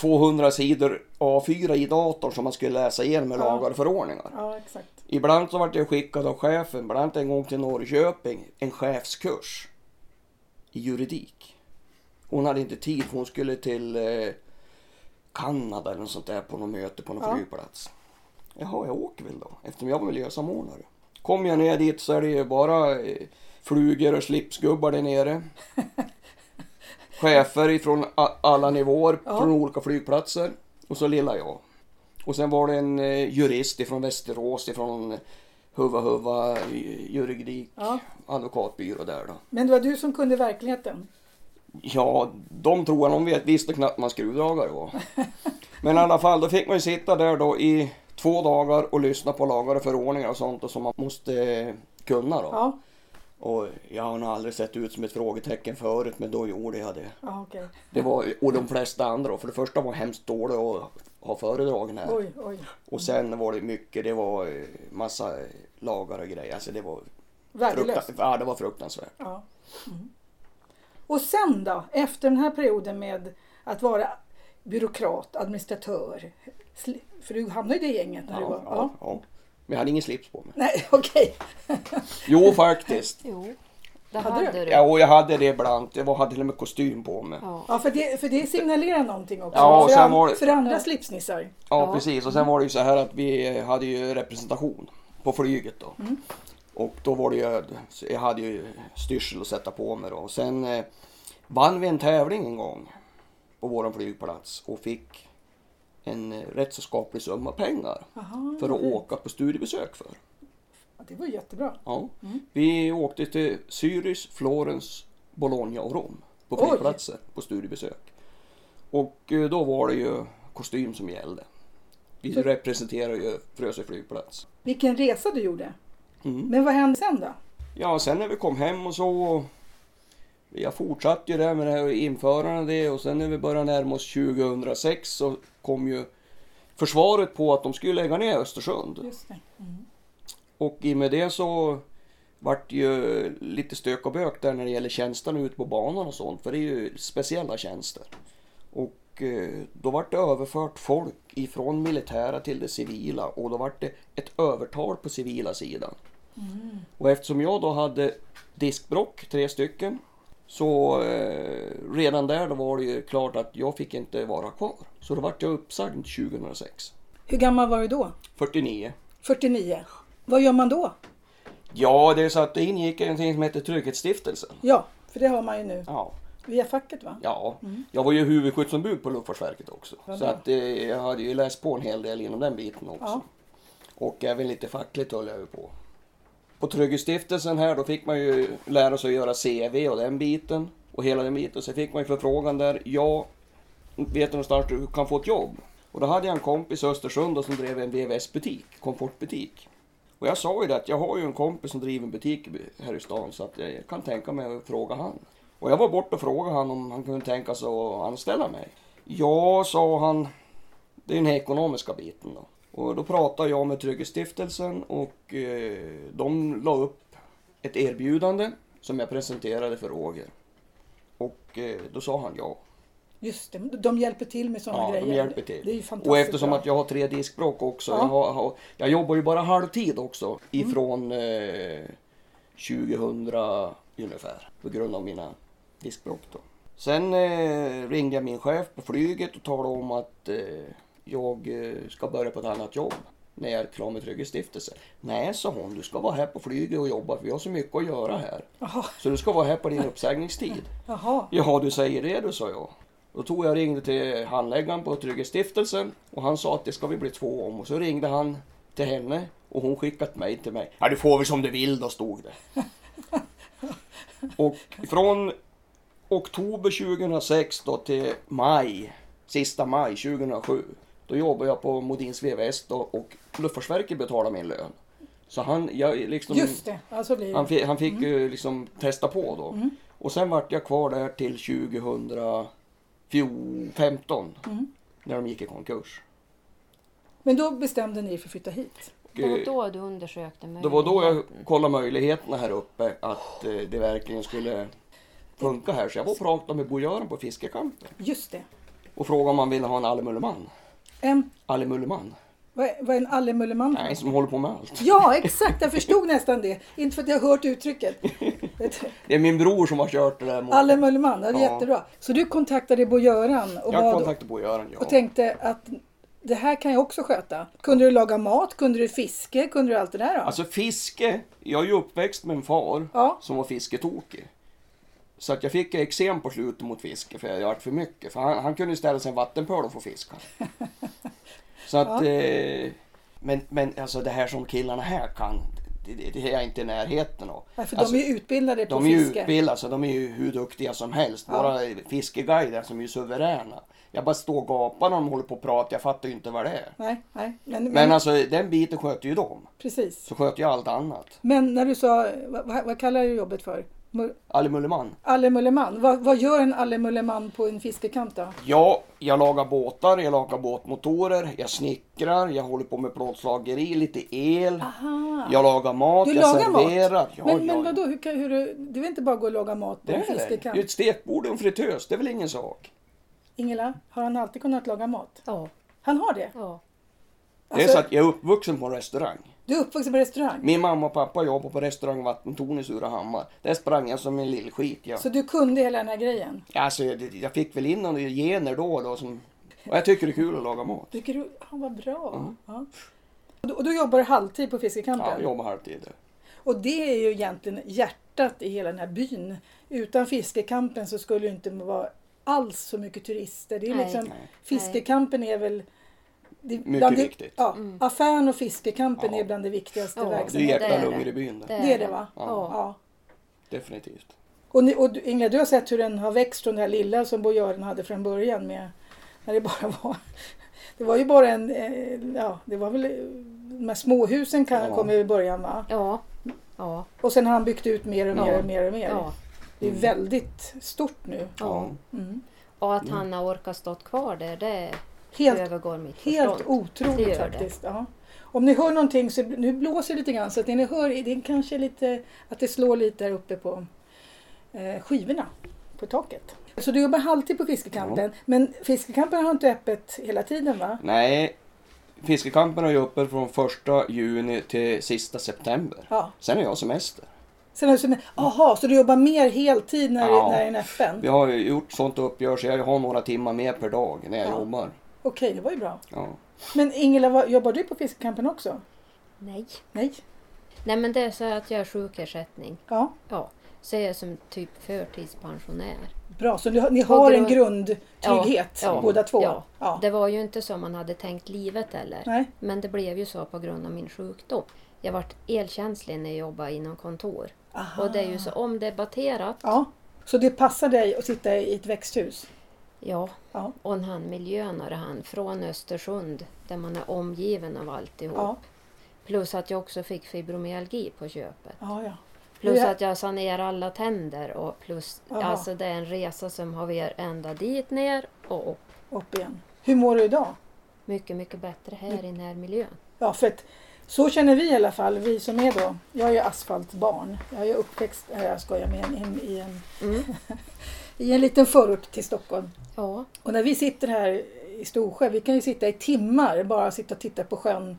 B: 200 sidor A4 i datorn som man skulle läsa igenom med
A: Ja.
B: lagar och förordningar.
A: Ja, exakt.
B: Ibland så vart jag skickad av chefen, bland annat en gång till Norrköping, en chefskurs i juridik. Hon hade inte tid för hon skulle till eh, Kanada eller något sånt där på något möte på någon
A: Ja.
B: flygplats. Jaha, jag åker väl då eftersom jag var miljösamordnare. Kom jag ner dit så är det ju bara eh, flugor och slipsgubbar där nere. Chefer ifrån a- alla nivåer
A: Ja.
B: från olika flygplatser och så lilla jag. Och sen var det en eh, jurist ifrån Västerås ifrån Huva Huva eh, juridik
A: Ja.
B: advokatbyrå där då.
A: Men det var du som kunde verkligheten.
B: Ja, de tror jag, de vet, visste knappt vad en skruvdragare var. Men i alla fall, då fick man ju sitta där då i två dagar och lyssna på lagar och förordningar och sånt och som man måste eh, kunna då.
A: Ja,
B: Och jag har nog aldrig sett ut som ett frågetecken förut, men då gjorde jag det.
A: ja okej.
B: det var, och de flesta andra, då, för det första var jag hemskt dålig att ha föredragen här.
A: Oj, oj.
B: Och sen var det mycket, det var eh, massa eh, lagar och grejer. Alltså det var,
A: Värdelöst.
B: fruktan- ja, det var fruktansvärt.
A: Ja. Mm. Och sen då, efter den här perioden med att vara byråkrat, administratör. sli- För du hamnade ju i det gänget när du var...
B: ja, ja. Men jag hade ingen slips på mig.
A: Nej, okej.
B: Jo, faktiskt.
C: Jo, det
A: Hade
C: hade,
A: du?
C: du.
B: Ja, och jag hade det ibland. Jag var- hade till och med kostym på mig. Ja,
C: Ja.
A: Ja, för det, för det signalerar någonting också.
B: Ja, och
A: för,
B: sen
A: an-
B: var det-
A: för andra slipsnissar.
C: Ja.
B: precis. Och sen var det ju så här att vi eh, hade ju representation på flyget då. Och då var det ju, så jag hade ju styrsel att sätta på mig då. Och sen eh, vann vi en tävling en gång på våran flygplats och fick en eh, rätt så skaplig summa pengar
A: Aha,
B: för att åka på studiebesök för.
A: ja, det var ju jättebra.
B: Ja. Vi åkte till Zürich, Florens, Bologna och Rom på
A: Oj.
B: flygplatser på studiebesök. Och eh, då var det ju kostym som gällde. Vi representerar ju Frösö flygplats.
A: Vilken resa du gjorde.
B: Mm.
A: Men vad hände sen då?
B: Ja, sen när vi kom hem och så jag fortsatte ju där med det här införandet av det och sen när vi började närma oss 2006 så kom ju försvaret på att de skulle lägga ner Östersund.
A: Just det.
B: Och i och med det så vart det ju lite stök och bök där när det gäller tjänsterna ute på banan och sånt. För det är ju speciella tjänster. Och eh, då vart det överfört folk ifrån militära till det civila och då vart det ett övertal på civila sidan. Och eftersom jag då hade diskbrock, tre stycken, så eh, redan där då var det ju klart att jag fick inte vara kvar. Så då vart jag uppsagd 2006.
A: Hur gammal var du då?
B: 49.
A: 49. Vad gör man då?
B: Ja, det är så att det ingick någonting som heter Trygghetsstiftelsen.
A: Ja, för det har man ju nu.
B: Ja,
A: Via facket va?
B: ja. jag var ju huvudskyddsombud på Luftfartsverket också. Så att, eh, jag hade ju läst på en hel del inom den biten också.
A: Ja.
B: Och även lite fackligt höll jag ju på. På Trygghetsstiftelsen här då fick man ju lära sig att göra CV och den biten. Och hela den biten. Sen fick man ju förfrågan där. Jag vet du någonstans du kan få ett jobb? Och då hade jag en kompis i Östersund då som drev en VVS-butik, komfortbutik. Och jag sa ju det att jag har ju en kompis som driver en butik i- här i stan så att jag kan tänka mig att fråga han. Och jag var borta och frågade han om han kunde tänka sig att anställa mig. Ja, sa han, det är den här ekonomiska biten då. Och då pratade jag med Trygghetsstiftelsen och eh, de la upp ett erbjudande som jag presenterade för Roger. Och eh, då sa han ja.
A: Just det, de hjälper till med sådana
B: Ja,
A: grejer.
B: de hjälper till.
A: Det är ju fantastiskt
B: och eftersom
A: bra.
B: att jag har tre diskbråck också.
A: Ja. Mm.
B: Jag, har, har, jag jobbar ju bara halvtid också ifrån eh, 2000 ungefär. På grund av mina diskbråck då. Sen eh, ringde jag min chef på flyget och talade om att eh, jag eh, ska börja på ett annat jobb. När jag är klar med Trygghetsstiftelsen. Nej, sa hon, du ska vara här på flyget och jobba för vi har så mycket att göra här.
A: Jaha,
B: Så du ska vara här på din uppsägningstid.
A: jaha.
B: Jaha, du säger det du, sa jag. Då tog jag och ringde till handläggaren på Trygghetsstiftelsen och han sa att det ska vi bli två om. Och så ringde han till henne och hon skickade mig till mig. Ja, du får väl som du vill då, stod det. och från oktober 2006 då till maj, sista maj 2007, då jobbade jag på Modins VVS då och Luftfartsverket betalade min lön. Så han, jag liksom...
A: Just det, ja, så blir det.
B: Han, fi- han
C: Mm.
B: fick ju liksom testa på då. Och sen vart jag kvar där till 2015.
C: Mm.
B: När de gick i konkurs.
A: Men då bestämde ni er för att flytta hit.
B: Och,
C: Det var
B: eh,
C: då du undersökte mig.
B: det var då jag kollade möjligheterna här uppe att eh, det verkligen skulle funka här. Så jag var och pratade med Bo-Göran på fiskekampen
A: Just det.
B: och frågade om han ville ha en allmulleman.
A: En,
B: Allmulleman?
A: vad är, vad är en allemulleman?
B: Nej, som håller på med allt.
A: Ja, exakt. Jag förstod nästan det. Inte för att jag har hört uttrycket. Ett
B: Det är min bror som har kört det där. mot-
A: Allemulleman, det är
B: Ja.
A: jättebra. Så du kontaktade Bo-Göran och,
B: Jag
A: bad-
B: kontaktade Bo-Göran, ja.
A: och tänkte att det här kan jag också sköta. Kunde du laga mat? Kunde du fiske? Kunde du allt det där? Då?
B: Alltså fiske, jag är ju uppväxt med en far
A: Ja.
B: som var fisketokig. Så att jag fick eksem på slutet mot fiske för jag gjort för mycket. För han, han kunde ju ställa sig i en vattenpöl och få fiska. Så att, eh, men, men alltså det här som killarna här kan, det, det- det är jag inte i närheten av.
A: Ja, för
B: alltså,
A: de är ju utbildade på
B: de är ju
A: fiske.
B: utbildade, så de är ju hur duktiga som helst. Våra fiskeguider som är ju suveräna. Jag bara står och gapar när de håller på och pratar, jag fattar ju inte vad det är.
A: Nej, nej. Men, men,
B: Men alltså den biten sköter ju de.
A: precis.
B: Så sköter jag allt annat.
A: Men när du sa, vad, vad- vad kallar du jobbet för? Mul-
B: Ali Mulleman.
A: Allemulleman. Vad, vad gör en allemulleman på en fiskekant då?
B: Ja, jag lagar båtar, jag lagar båtmotorer, jag snickrar, jag håller på med plåtslageri, lite el.
A: Aha.
B: Jag lagar mat,
A: Du
B: jag
A: lagar mat?
B: serverar. Ja,
A: men,
B: ja,
A: men
B: ja.
A: vadå, hur kan, hur, du- det är väl inte bara att gå och laga mat på
B: Det
A: en
B: är det. Det
A: fiskekant?
B: är ett stekbord och en fritös, det är väl ingen sak?
A: Ingela, har han alltid kunnat laga mat?
C: Ja,
A: Han har det?
C: ja.
B: Det är
A: Alltså-
B: så att jag är uppvuxen på en restaurang.
A: Du är uppvuxen på restaurang?
B: Min mamma och pappa jobbade på restaurang Vattentorn i Surahammar. Där sprang jag som en lillskit. Jag,
A: Så du kunde hela den här grejen?
B: alltså, jag, jag fick väl in några gener då och då som... Och jag tycker det är kul att laga mat.
A: Tycker du, ja, vad bra. Ja. Och, då, och då jobbar du halvtid på
B: Mm. Ja,
A: fiskekampen?
B: jag jobbar halvtid.
A: och det är ju egentligen hjärtat i hela den här byn. Utan fiskekampen så skulle det inte vara alls så mycket turister. Det är
C: Nej.
A: liksom,
B: Nej.
A: fiskekampen är väl... det är
B: Mycket
A: bland det-
B: viktigt.
A: Ja, Affären och fiskekampen
B: Ja.
A: är bland det viktigaste
C: Mm. Ja,
B: Det är
A: verksamheten.
C: det är
B: jäkla
C: det.
B: lungor i byn där.
A: Det är det va?
C: Ja.
A: Ja.
B: Definitivt.
A: Och, ni, och du, Ingela, du har sett hur den har växt från det här lilla som Bo-Göran hade från början med när det bara var... Det var ju bara en... eh, Ja, det var väl... eh, De här småhusen kan,
B: Ja.
A: kom i början va?
C: Ja. Ja.
A: Och sen har han byggt ut mer och
C: Ja.
A: mer och mer och mer.
C: ja.
A: Det
C: Mm.
A: är väldigt stort nu.
C: Ja. Och
B: Mm.
C: att han har orkat stått kvar där, det
A: Helt,
C: övergår mitt
A: helt
C: förstånd. Det
A: otroligt
C: gör det.
A: faktiskt. Ja. Om ni hör någonting, så nu blåser det lite grann så att det ni hör det är kanske lite att det slår lite där uppe på eh, skivorna på taket. Så du jobbar halvtid på fiskekampen, men fiskekampen har inte öppet hela tiden va?
B: Nej, fiskekampen är ju uppe från första juni till sista september.
A: Ja.
B: Sen är jag semester.
A: Sen har du, semester- aha, så du jobbar mer heltid när,
B: Ja.
A: när den är öppen?
B: Vi har ju gjort sånt uppgörelse, jag har några timmar mer per dag när jag
A: Ja.
B: jobbar.
A: Okej, det var ju bra.
B: Ja.
A: Men Ingela, vad- jobbar du på fiskekampen också?
C: Nej.
A: Nej?
C: Nej men det är så att jag har sjukersättning.
A: Ja,
C: Ja. Så är jag som typ förtidspensionär.
A: bra. Så ni har, ni
C: På
A: har en
C: grund-
A: grundtrygghet
C: Ja, ja,
A: båda två?
C: ja.
A: ja.
C: Det var ju inte så man hade tänkt livet heller.
A: Nej.
C: Men det blev ju så på grund av min sjukdom. Jag vart elkänslig när jag jobbade inom kontor.
A: Aha.
C: Och det är ju så omdebatterat.
A: ja. Så det passar dig att sitta i ett växthus?
C: Ja,
A: Ja.
C: och den här miljön och det här från Östersund där man är omgiven av alltihop.
A: Ja.
C: Plus att jag också fick fibromyalgi på köpet.
A: Ja, ja.
C: Plus
A: Ja.
C: att jag sanerar alla tänder och plus
A: Jaha.
C: alltså det är en resa som har vi ända dit ner och upp.
A: Upp igen. Hur mår du idag?
C: Mycket, mycket bättre
A: Mm.
C: här i den här miljön.
A: Ja, för att så känner vi i alla fall, vi som är då, jag är ju asfaltbarn. Jag är ju uppväxt, nej jag skojar, med en, en, i, en,
C: Mm.
A: i en liten förort till Stockholm.
C: Ja,
A: Och när vi sitter här i Storsjö, vi kan ju sitta i timmar bara sitta och titta på sjön.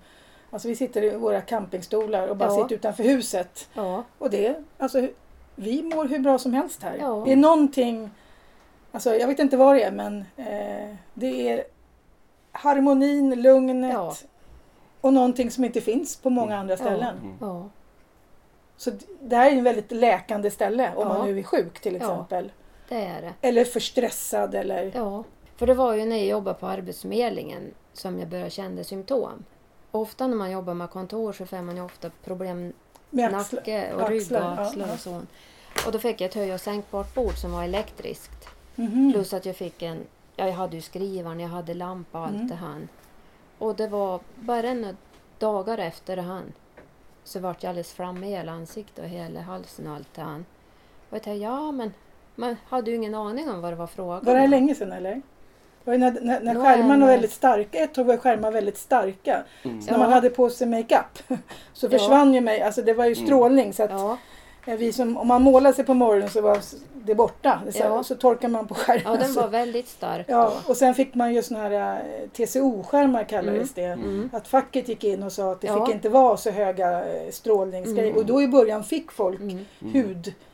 A: Alltså vi sitter i våra campingstolar och bara
C: Ja.
A: sitter utanför huset.
C: ja,
A: Och det, alltså vi mår hur bra som helst här.
C: Ja.
A: Det är någonting, alltså jag vet inte vad det är men eh, det är harmonin, lugnet
C: Ja.
A: och någonting som inte finns på många andra ställen.
B: Mm.
C: ja,
A: Så d- det här är ju ett väldigt läkande ställe om
C: Ja.
A: man nu är sjuk till
C: Ja.
A: exempel.
C: det är det.
A: Eller för stressad eller...
C: Ja, för det var ju när jag jobbade på Arbetsförmedlingen som jag började känna symptom. Ofta när man jobbar med kontor så får man ju ofta problem
A: Med
C: med
A: axlar.
C: nacke och rygg
A: axlar,
C: och
A: ja,
C: axlar
A: ja.
C: och så. Och då fick jag ett höj och sänkbart bord som var elektriskt.
A: Mhm.
C: Plus att jag fick en, ja, jag hade ju skrivaren, jag hade lampa och allt
A: Mm.
C: det här. Och det var bara några dagar efter det här så vart jag alldeles framme i hela ansiktet och hela halsen och allt det här. Och jag tänkte, ja men man hade ju ingen aning om vad det var frågan
A: Var det här
C: om.
A: länge sedan eller? Var det när, när, när
C: Nå,
A: skärmarna
C: en-
A: var väldigt starka, ett tag var skärmar väldigt starka.
B: Mm.
A: Så när man
C: Ja.
A: hade på sig makeup så
C: Ja.
A: försvann ju mig, alltså det var ju
B: Mm.
A: strålning så att
C: Ja,
A: eh, vi som, om man målade sig på morgonen så var s- det borta. Så,
C: Ja.
A: så torkar man på skärmen.
C: ja den
A: så-
C: var väldigt stark
A: Alltså, ja,
C: då.
A: och sen fick man ju såna här eh, TCO-skärmar kallades det.
C: Mm.
A: Att facket gick in och sa att det
C: Ja.
A: fick inte vara så höga eh, strålningsgrejer.
C: Mm.
A: Och då i början fick folk
C: Mm.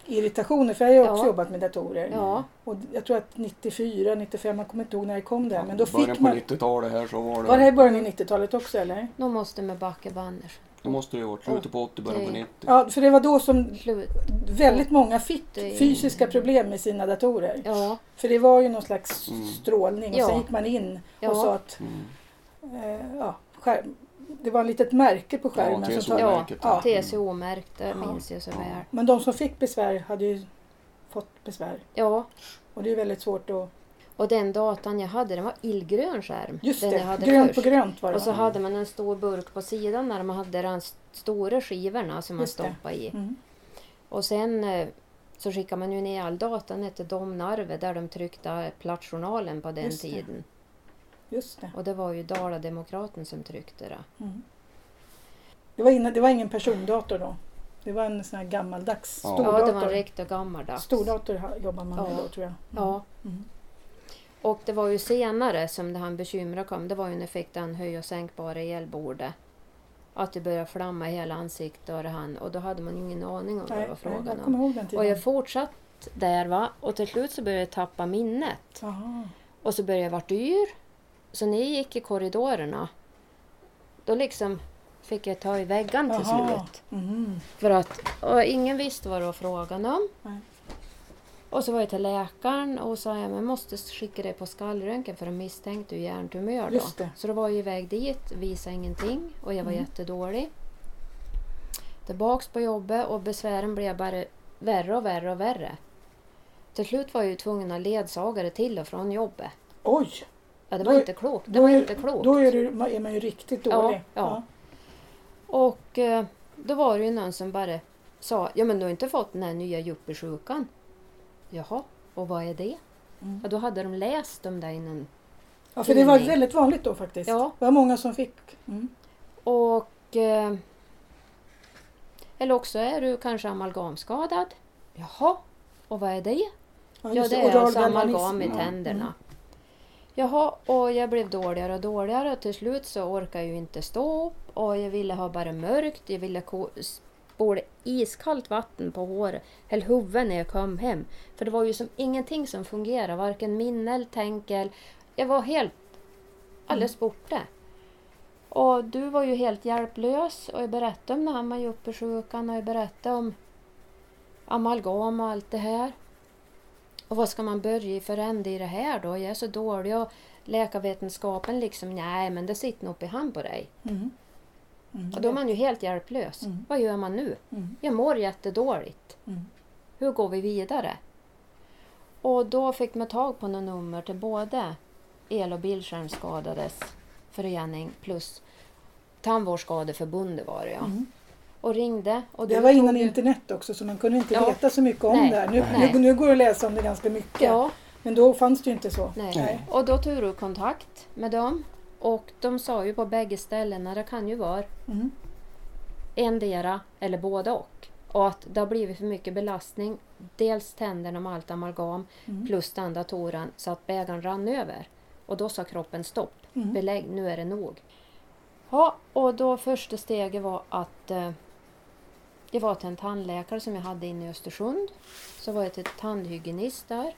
A: hudirritationer. För jag har ju också
C: Ja.
A: jobbat med datorer.
C: Ja,
A: Och jag tror att 94, 95, man kommer inte ihåg när det kom där.
B: Ja,
A: Men då
B: Början
A: fick
B: på
A: man...
B: 90-talet här så var det...
A: Var det här i början av 90-talet också eller?
C: då måste man backa banners.
B: Det måste ju ha varit slutet på 80, början på 90.
A: Ja, för det var då som
C: Slut.
A: väldigt många fick
C: Det-
A: fysiska problem med sina datorer.
C: Ja,
A: För det var ju någon slags
B: Mm.
A: strålning. Och
C: Ja.
A: sen gick man in och
C: Ja.
A: sa att...
B: Mm.
A: Eh, ja, skärm, det var ett litet märke på skärmen. som
B: Ja,
A: sa,
B: TCO.
C: ja,
B: märket,
A: ja.
C: TCO-märkte
A: Ja.
C: minns jag så
B: Ja.
C: väl.
A: Men de som fick besvär hade ju fått besvär.
C: Ja,
A: Och det är väldigt svårt att...
C: Och den datan jag hade, den var illgrön skärm.
A: Just
C: den
A: det,
C: jag hade
A: grönt
C: först.
A: på grönt var det.
C: Och så
A: va?
C: hade man en stor burk på sidan där man hade de stora skivorna som man
A: Just det.
C: stoppade i.
A: Mm.
C: Och sen eh, så skickade man ju ner all data ner till Domnarvet där de tryckte platsjournalen på den
A: Just det.
C: tiden.
A: Just det.
C: Och det var ju Dala-demokraten som tryckte det.
A: Mm. Det, var inne, det var ingen persondator då. Det var en sån här gammaldags
B: Ja.
A: stordator.
C: Ja, det var en riktig gammaldags.
A: Stordator ha- jobbar man med
C: Ja.
A: då tror jag. Mm.
C: Ja.
A: Mm.
C: Och det var ju senare som det han bekymrade kom. Det var ju när jag fick den höj och sänkbara elbordet. Att det började flamma i hela ansiktet och det han. Och då hade man ju ingen aning om vad det
A: Nej,
C: var
A: nej,
C: frågan
A: jag
C: om.
A: kommer ihåg den tiden.
C: Och jag fortsatt där va. Och till slut så började jag tappa minnet.
A: Jaha.
C: Och så började jag vara dyr. Så när jag gick i korridorerna. Då liksom fick jag ta i väggen till
A: Jaha.
C: slut.
A: Mm.
C: För att och ingen visste vad det var frågan om.
A: Nej.
C: Och så var jag till läkaren och sa att jag måste skicka dig på skallröntgen för de misstänkte ju hjärntumör då.
A: Just det.
C: Så då var jag iväg dit, visade ingenting och jag var
A: Mm.
C: jättedålig. Tillbaks på jobbet och besvären blev bara värre och värre och värre. Till slut var jag ju tvungen att ha ledsagare till och från jobbet.
A: Oj!
C: Ja, det
A: Då
C: var
A: är-
C: inte klokt. Det
A: Då
C: var
A: är,
C: inte klokt.
A: då är, du, man- är man ju riktigt
C: Ja,
A: dålig.
C: ja. Och eh, då var det ju någon som bara sa, ja men du har inte fått den här nya yuppiesjukan. Jaha, och vad är det?
A: Mm.
C: Ja, då hade de läst om det innan.
A: Ja, för det var
C: Tidning.
A: väldigt vanligt då faktiskt.
C: Mm. Ja.
A: Det var många som fick. Mm.
C: Och... Eh, eller också är du kanske amalgamskadad. Jaha, och vad är det? Ja,
A: just
C: det är alltså
A: oral
C: amalgam
A: galvanism.
C: i
A: Ja. Mm.
C: tänderna. Jaha, och jag blev dåligare och dåligare och till slut så orkade jag ju inte stå upp och jag ville ha bara mörkt. Jag ville ko- spola iskallt vatten på håret, eller huvudet när jag kom hem. För det var ju som ingenting som fungerade, varken minne eller tänk. eller- Jag var helt alldeles
A: Mm.
C: borta. Och du var ju helt hjälplös och jag berättade om den här majoppersjukan och jag berättade om amalgam och allt det här. Och vad ska man börja i för ände i det här då? Jag är så dålig och läkarvetenskapen liksom, nej men det sitter nog upp i hand på dig.
A: Mm. Mm.
C: Och då är man ju helt hjälplös.
A: Mm.
C: Vad gör man nu?
A: Mm.
C: Jag mår jättedåligt.
A: Mm.
C: Hur går vi vidare? Och då fick man tag på några nummer till både el och bildskärmsskadades förening plus Tandvårdsskadeförbundet var det ja.
A: Mm.
C: Och ringde. Och
A: Det
C: du
A: var
C: tog
A: innan
C: ju-
A: internet också så man kunde inte
C: Ja.
A: veta så mycket om
C: Nej.
A: det här. Nu,
C: Nej.
A: nu, nu går det att läsa om det ganska mycket.
C: Ja,
A: Men då fanns det ju inte så.
C: Nej.
B: Nej.
C: Och då tog du kontakt med dem. Och de sa ju på bägge ställena, det kan ju vara
A: Mm.
C: endera eller både och. Och att det har blivit för mycket belastning. Dels tänderna med allt amalgam
A: Mm.
C: plus den datoren så att bägaren rann över. Och då sa kroppen stopp,
A: Mm.
C: belägg, nu är det nog. Ja, och då första steget var att eh, det var till en tandläkare som jag hade inne i Östersund. Så var jag till tandhygienist där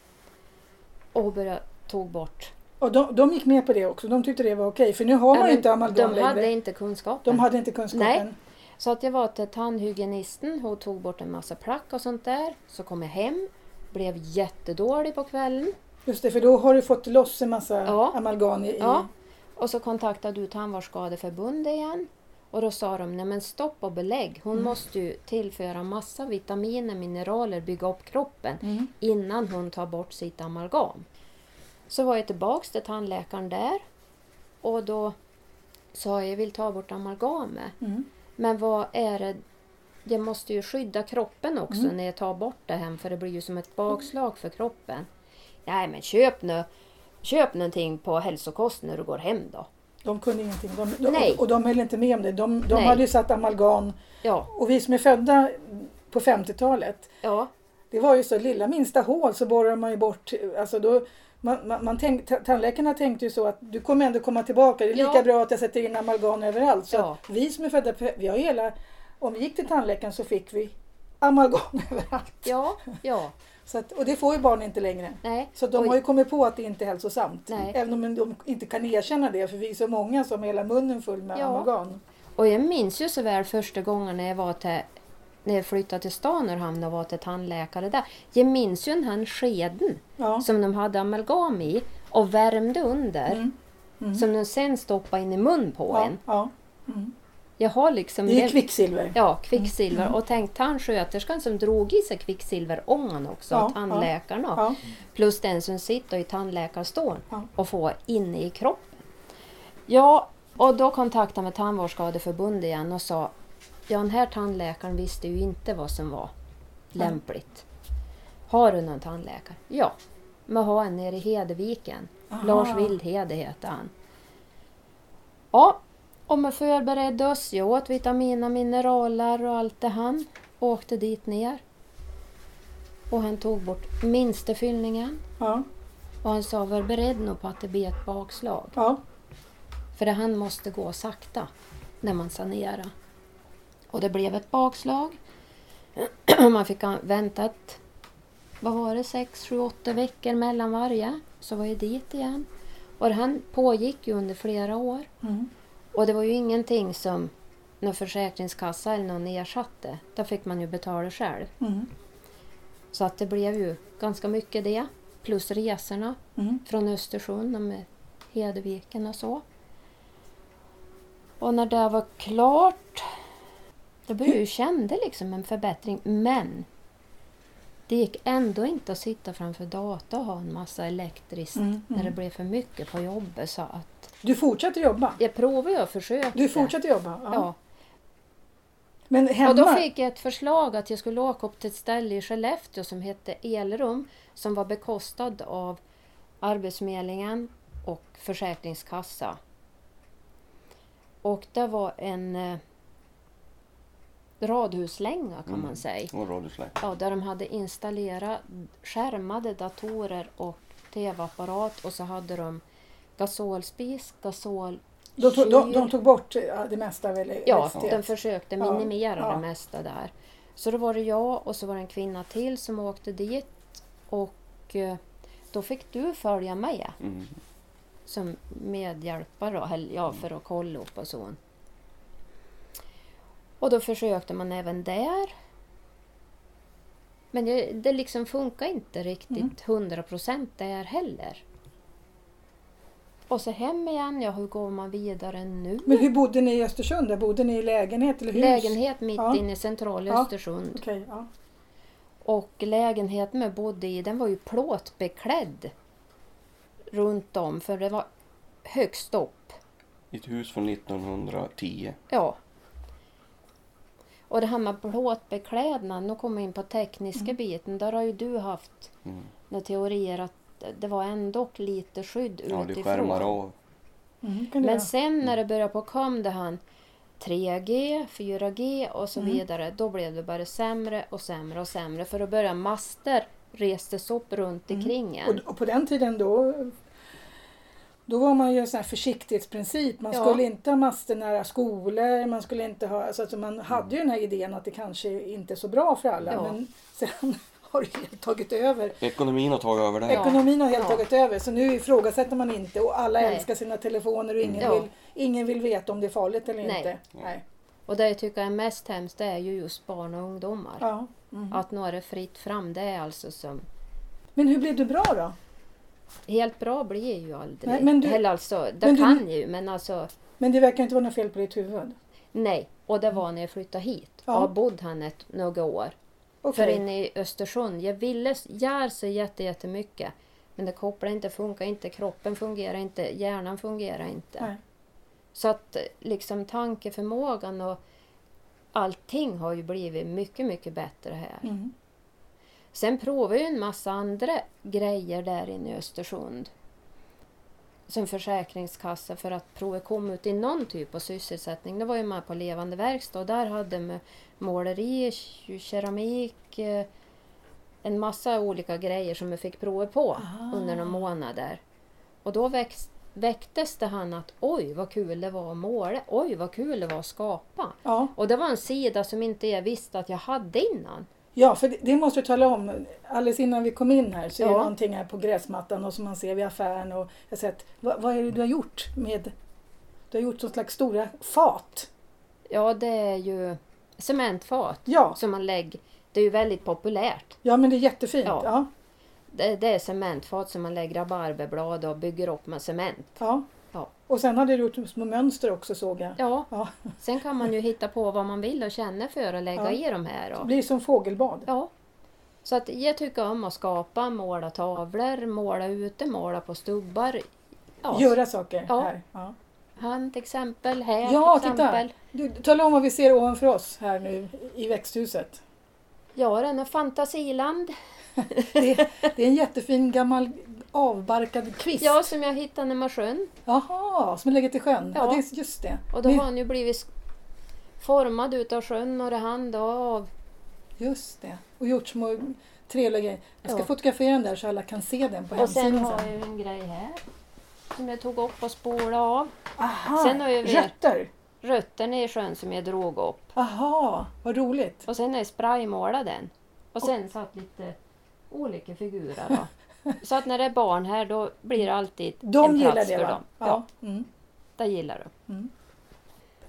C: och började, tog bort
A: Och de, de gick med på det också. De tyckte det var okej för nu har man
C: Ja,
A: ju
C: men
A: inte amalgam
C: De
A: längre.
C: hade inte kunskapen.
A: De hade inte kunskapen.
C: Nej. Så att jag var till tandhygienisten, hon tog bort en massa plack och sånt där. Så kom jag hem, blev jättedålig på kvällen.
A: Just det, för då har du fått loss en massa
C: Ja.
A: amalgam i... i-
C: Ja. mm. Och så kontaktade du Tandvårdsskadeförbundet igen. Och då sa de, nej men stopp och belägg.
A: Mm.
C: Hon måste ju tillföra massa vitaminer, mineraler, bygga upp kroppen
A: Mm.
C: innan hon tar bort sitt amalgam. Så var jag tillbaks till tandläkaren där. Och då sa jag, jag vill ta bort amalgamet.
A: Mm.
C: Men vad är det? Jag måste ju skydda kroppen också
A: Mm.
C: när jag tar bort det hem för det blir ju som ett bakslag för kroppen. Nej men köp nu Köp någonting på hälsokost när du går hem då.
A: De kunde ingenting. De, de,
C: Nej.
A: Och de höll inte med om det. De, de
C: Nej.
A: hade ju satt amalgam.
C: Ja,
A: Och vi som är födda på 50-talet,
C: ja,
A: det var ju så lilla minsta hål så borrar man ju bort. Alltså då, man, man, man tänk, ta- tandläkarna tänkte ju så att du kommer ändå komma tillbaka. Det är lika
C: Ja.
A: bra att jag sätter in amalgam överallt. Så
C: Ja.
A: att vi som är födda på, vi har ju hela, om vi gick till tandläkaren så fick vi amalgam överallt.
C: ja, ja,
A: Så att, och det får ju barn inte längre.
C: nej.
A: Så de
C: Och-
A: har ju kommit på att det inte är hälsosamt.
C: Nej.
A: Även om de inte kan erkänna det för vi är så många som har hela munnen full med
C: Ja.
A: amalgam.
C: Och jag minns ju så väl första gången när jag var till när jag flyttade till Stanorhamn och var till tandläkare där. Jag minns ju den här skeden
A: Ja.
C: som de hade amalgam i och värmde under.
A: Mm. Mm.
C: Som de sen stoppade in i mun på
A: ja,
C: en.
A: ja. Mm.
C: Jag har liksom...
A: Det är ju
C: jag-
A: kvicksilver.
C: Ja, kvicksilver. Och tänk tandsköterskan som drog i sig kvicksilverångan också,
A: Ja,
C: av tandläkaren. och-
A: Ja.
C: Plus den som sitter i tandläkarstolen
A: Ja.
C: och får inne i kroppen. Ja, och då kontaktade med Tandvårdsskadeförbundet igen och sa Ja, den här tandläkaren visste ju inte vad som var lämpligt. Har du någon tandläkare? Ja, men ha en nere i Hedeviken.
A: Aha.
C: Lars Wildhede heter han. Ja, och man förberedde oss. Jag åt vitaminer, mineraler och allt det han. Åkte dit ner. Och han tog bort minsta fyllningen.
A: Ja.
C: Och han sa, var beredd nog på att det blir ett bakslag.
A: Ja.
C: För det han måste gå sakta när man sanerar. Och det blev ett bakslag. man fick an- vänta ett, vad var det, sex, sju, åtta veckor mellan varje. Så var jag dit igen. Och det här pågick ju under flera år.
A: Mm.
C: Och det var ju ingenting som någon försäkringskassa eller någon ersatte. Där fick man ju betala själv.
A: Mm.
C: Så att det blev ju ganska mycket det. Plus resorna
A: Mm.
C: från Östersund och med Hedviken och så. Och när det var klart då började jag känna liksom en förbättring. Men det gick ändå inte att sitta framför datorn och ha en massa elektriskt
A: Mm,
C: när det
A: mm.
C: blev för mycket på jobbet. Så att
A: Du fortsätter jobba?
C: jag provade och försökte.
A: Du fortsätter jobba? Ja.
C: Ja.
A: Men hemma?
C: Och då fick jag ett förslag att jag skulle åka upp till ett ställe i Skellefteå som hette Elrum som var bekostad av Arbetsförmedlingen och Försäkringskassa. Och det var en eh, radhuslänga kan man säga.
B: Och radiosläng.
C: Ja, där de hade installerat skärmade datorer och tv-apparat och så hade de gasolspis, gasol...
A: De tog, de, de tog bort eh, det mesta väl?
C: Ja,
A: ST.
C: de försökte
A: Ja,
C: minimera
A: ja.
C: det mesta där. Så då var det jag och så var det en kvinna till som åkte dit och eh, då fick du följa med
B: Mm.
C: som medhjälpare och hel-
A: Mm.
C: ja, för att kolla upp och så. Och då försökte man även där. Men det, det liksom funkar inte
A: Mm.
C: riktigt hundra procent där heller. Och så hem igen, ja hur går man vidare nu?
A: Men hur bodde ni i Östersund? Där bodde ni i lägenhet eller hus?
C: Lägenhet mitt
A: Ja.
C: inne i centrala
A: Ja.
C: Östersund.
A: Okej, ja.
C: Och lägenheten jag bodde i den var ju plåtbeklädd runt om för det var högst upp.
B: Ett hus från 1910.
C: Ja. Och det här med plåtbeklädnad, nu kommer jag in på tekniska
A: Mm.
C: biten. Där har ju du haft
B: Mm.
C: några teorier att det var ändå lite skydd
B: Ja, det
C: utifrån.
B: skärmar av.
A: Mm, kan det
C: Men
A: vara.
C: sen när det började på kom det han 3G, 4G och
A: Mm.
C: så vidare. Då blev det bara sämre och sämre och sämre. För att börja master restes upp runt omkring en.
A: Mm. och, och på den tiden då då var man ju en sån här försiktighetsprincip. Man
C: Ja.
A: skulle inte ha master nära skolor. Man, skulle inte ha, alltså, alltså, man hade ju den här idén att det kanske inte är så bra för alla.
C: Ja.
A: Men sen har det helt tagit över.
B: Ekonomin har tagit över det.
C: Ja.
A: Ekonomin har helt
C: Ja.
A: tagit över. Så nu ifrågasätter man inte och alla
C: Nej.
A: älskar sina telefoner och ingen,
C: Ja.
A: vill, ingen vill veta om det är farligt eller
C: Nej.
A: inte. Nej.
C: Och det jag tycker är mest hemskt det är ju just barn och ungdomar.
A: Ja. Mm.
C: Att några är fritt fram, det är alltså som
A: Men hur blev du bra då?
C: Helt bra blir jag ju aldrig.
A: Nej, men du-
C: Eller alltså, det
A: men du-
C: kan jag ju men alltså
A: Men det verkar inte vara något fel på ditt huvud.
C: nej. Och det var när jag flyttade hit.
A: Mm. Ja.
C: Jag bodde här ett, några år. För
A: Okej.
C: inne i Östersund, jag ville göra så jätte, jättemycket. Men det kopplar inte, funkar inte, kroppen fungerar inte, hjärnan fungerar inte.
A: Nej.
C: Så att eh, liksom tankeförmågan och allting har ju blivit mycket, mycket bättre här.
A: Mm.
C: Sen provade jag ju en massa andra grejer där inne i Östersund. Som försäkringskassa för att prova komma ut i någon typ av sysselsättning. Det var jag med på Levande verkstad och där hade de måleri, ke- keramik, eh, en massa olika grejer som jag fick prova på
A: Ah.
C: under några månader. Och då växt, väcktes det han att oj vad kul det var att måla, oj vad kul det var att skapa.
A: Ja.
C: Och det var en sida som inte jag visste att jag hade innan.
A: Ja, för det, det måste du tala om. Alldeles innan vi kom in här så är det
C: Ja.
A: någonting här på gräsmattan och som man ser vid affären. Och jag har sett, vad, vad är det du har gjort med... Du har gjort som slags stora fat.
C: Ja, det är ju cementfat
A: Ja,
C: som man lägger. Det är ju väldigt populärt.
A: ja men det är jättefint. Ja.
C: Ja.
A: Ja,
C: Det, det är cementfat som man lägger rabarberblad och bygger upp med cement. Ja.
A: Och sen hade du gjort små mönster också såg jag.
C: Ja,
A: Ja.
C: sen kan man ju hitta på vad man vill och känner för att lägga
A: Ja.
C: i de här.
A: Det
C: Och,
A: blir som fågelbad.
C: ja. Så att jag tycker om att skapa, måla tavlor, måla ute, måla på stubbar. Ja,
A: Göra saker
C: Ja.
A: här. Ja,
C: han till exempel, här
A: ja
C: till
A: titta!
C: exempel.
A: Du, tala om vad vi ser ovanför oss här nu i växthuset.
C: Ja, den är fantasiland.
A: Det, det är en jättefin gammal avbarkad kvist.
C: Ja, som jag hittade när man sjön.
A: Jaha, som lägger till sjön. Ja,
C: Ja.
A: det är just det.
C: Och då
A: Nu-
C: har han ju blivit sk- formad utav sjön och det han då av...
A: Just det. Och gjort små trevliga grejer. Jag ska
C: Ja.
A: fotografera den där så alla kan se den på
C: Och sen
A: hemsidan
C: har
A: sen.
C: jag ju en grej här. Som jag tog upp och spolade av.
A: Aha,
C: sen har jag ju-
A: rötter!
C: Rötterna i sjön som jag drog upp.
A: Aha, vad roligt!
C: Och sen har jag spraymålat den. Och sen satt lite olika figurer då. Så att när det är barn här då blir det alltid
A: De
C: en
A: gillar
C: plats
A: det
C: för
A: va?
C: dem. Ja,
A: Ja. Mm.
C: det gillar de.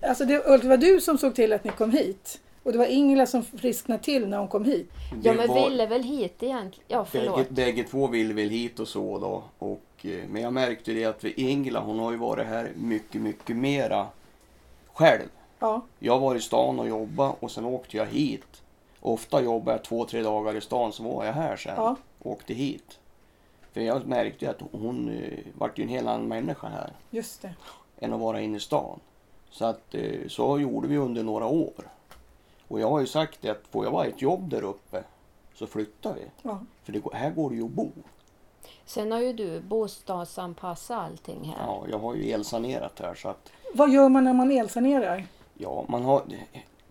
A: Alltså det, Ulf, det var du som såg till att ni kom hit. Och det var Ingela som frisknade till när hon kom hit.
C: Ja
B: Det
C: men
B: var-
C: ville väl hit egentligen? Ja förlåt.
B: Bägge, bägge två ville väl hit och så då. Och, eh, men jag märkte det att för Ingela hon har ju varit här mycket, mycket mera själv.
A: Ja,
B: Jag var i stan och jobbade och sen åkte jag hit. Ofta jobbar jag två, tre dagar i stan så var jag här sen.
A: Ja.
B: Åkte hit. För jag märkte ju att hon eh, vart ju en helt annan människa här
A: just det.
B: än att vara inne i stan. Så att eh, så gjorde vi under några år. Och jag har ju sagt det att får jag bara ett jobb där uppe så flyttar vi.
A: Ja.
B: För det, går- här går det ju att bo.
C: Sen har ju du bostadsanpassat allting här.
B: Ja, jag har ju elsanerat här så att
A: Vad gör man när man elsanerar?
B: Ja, man har...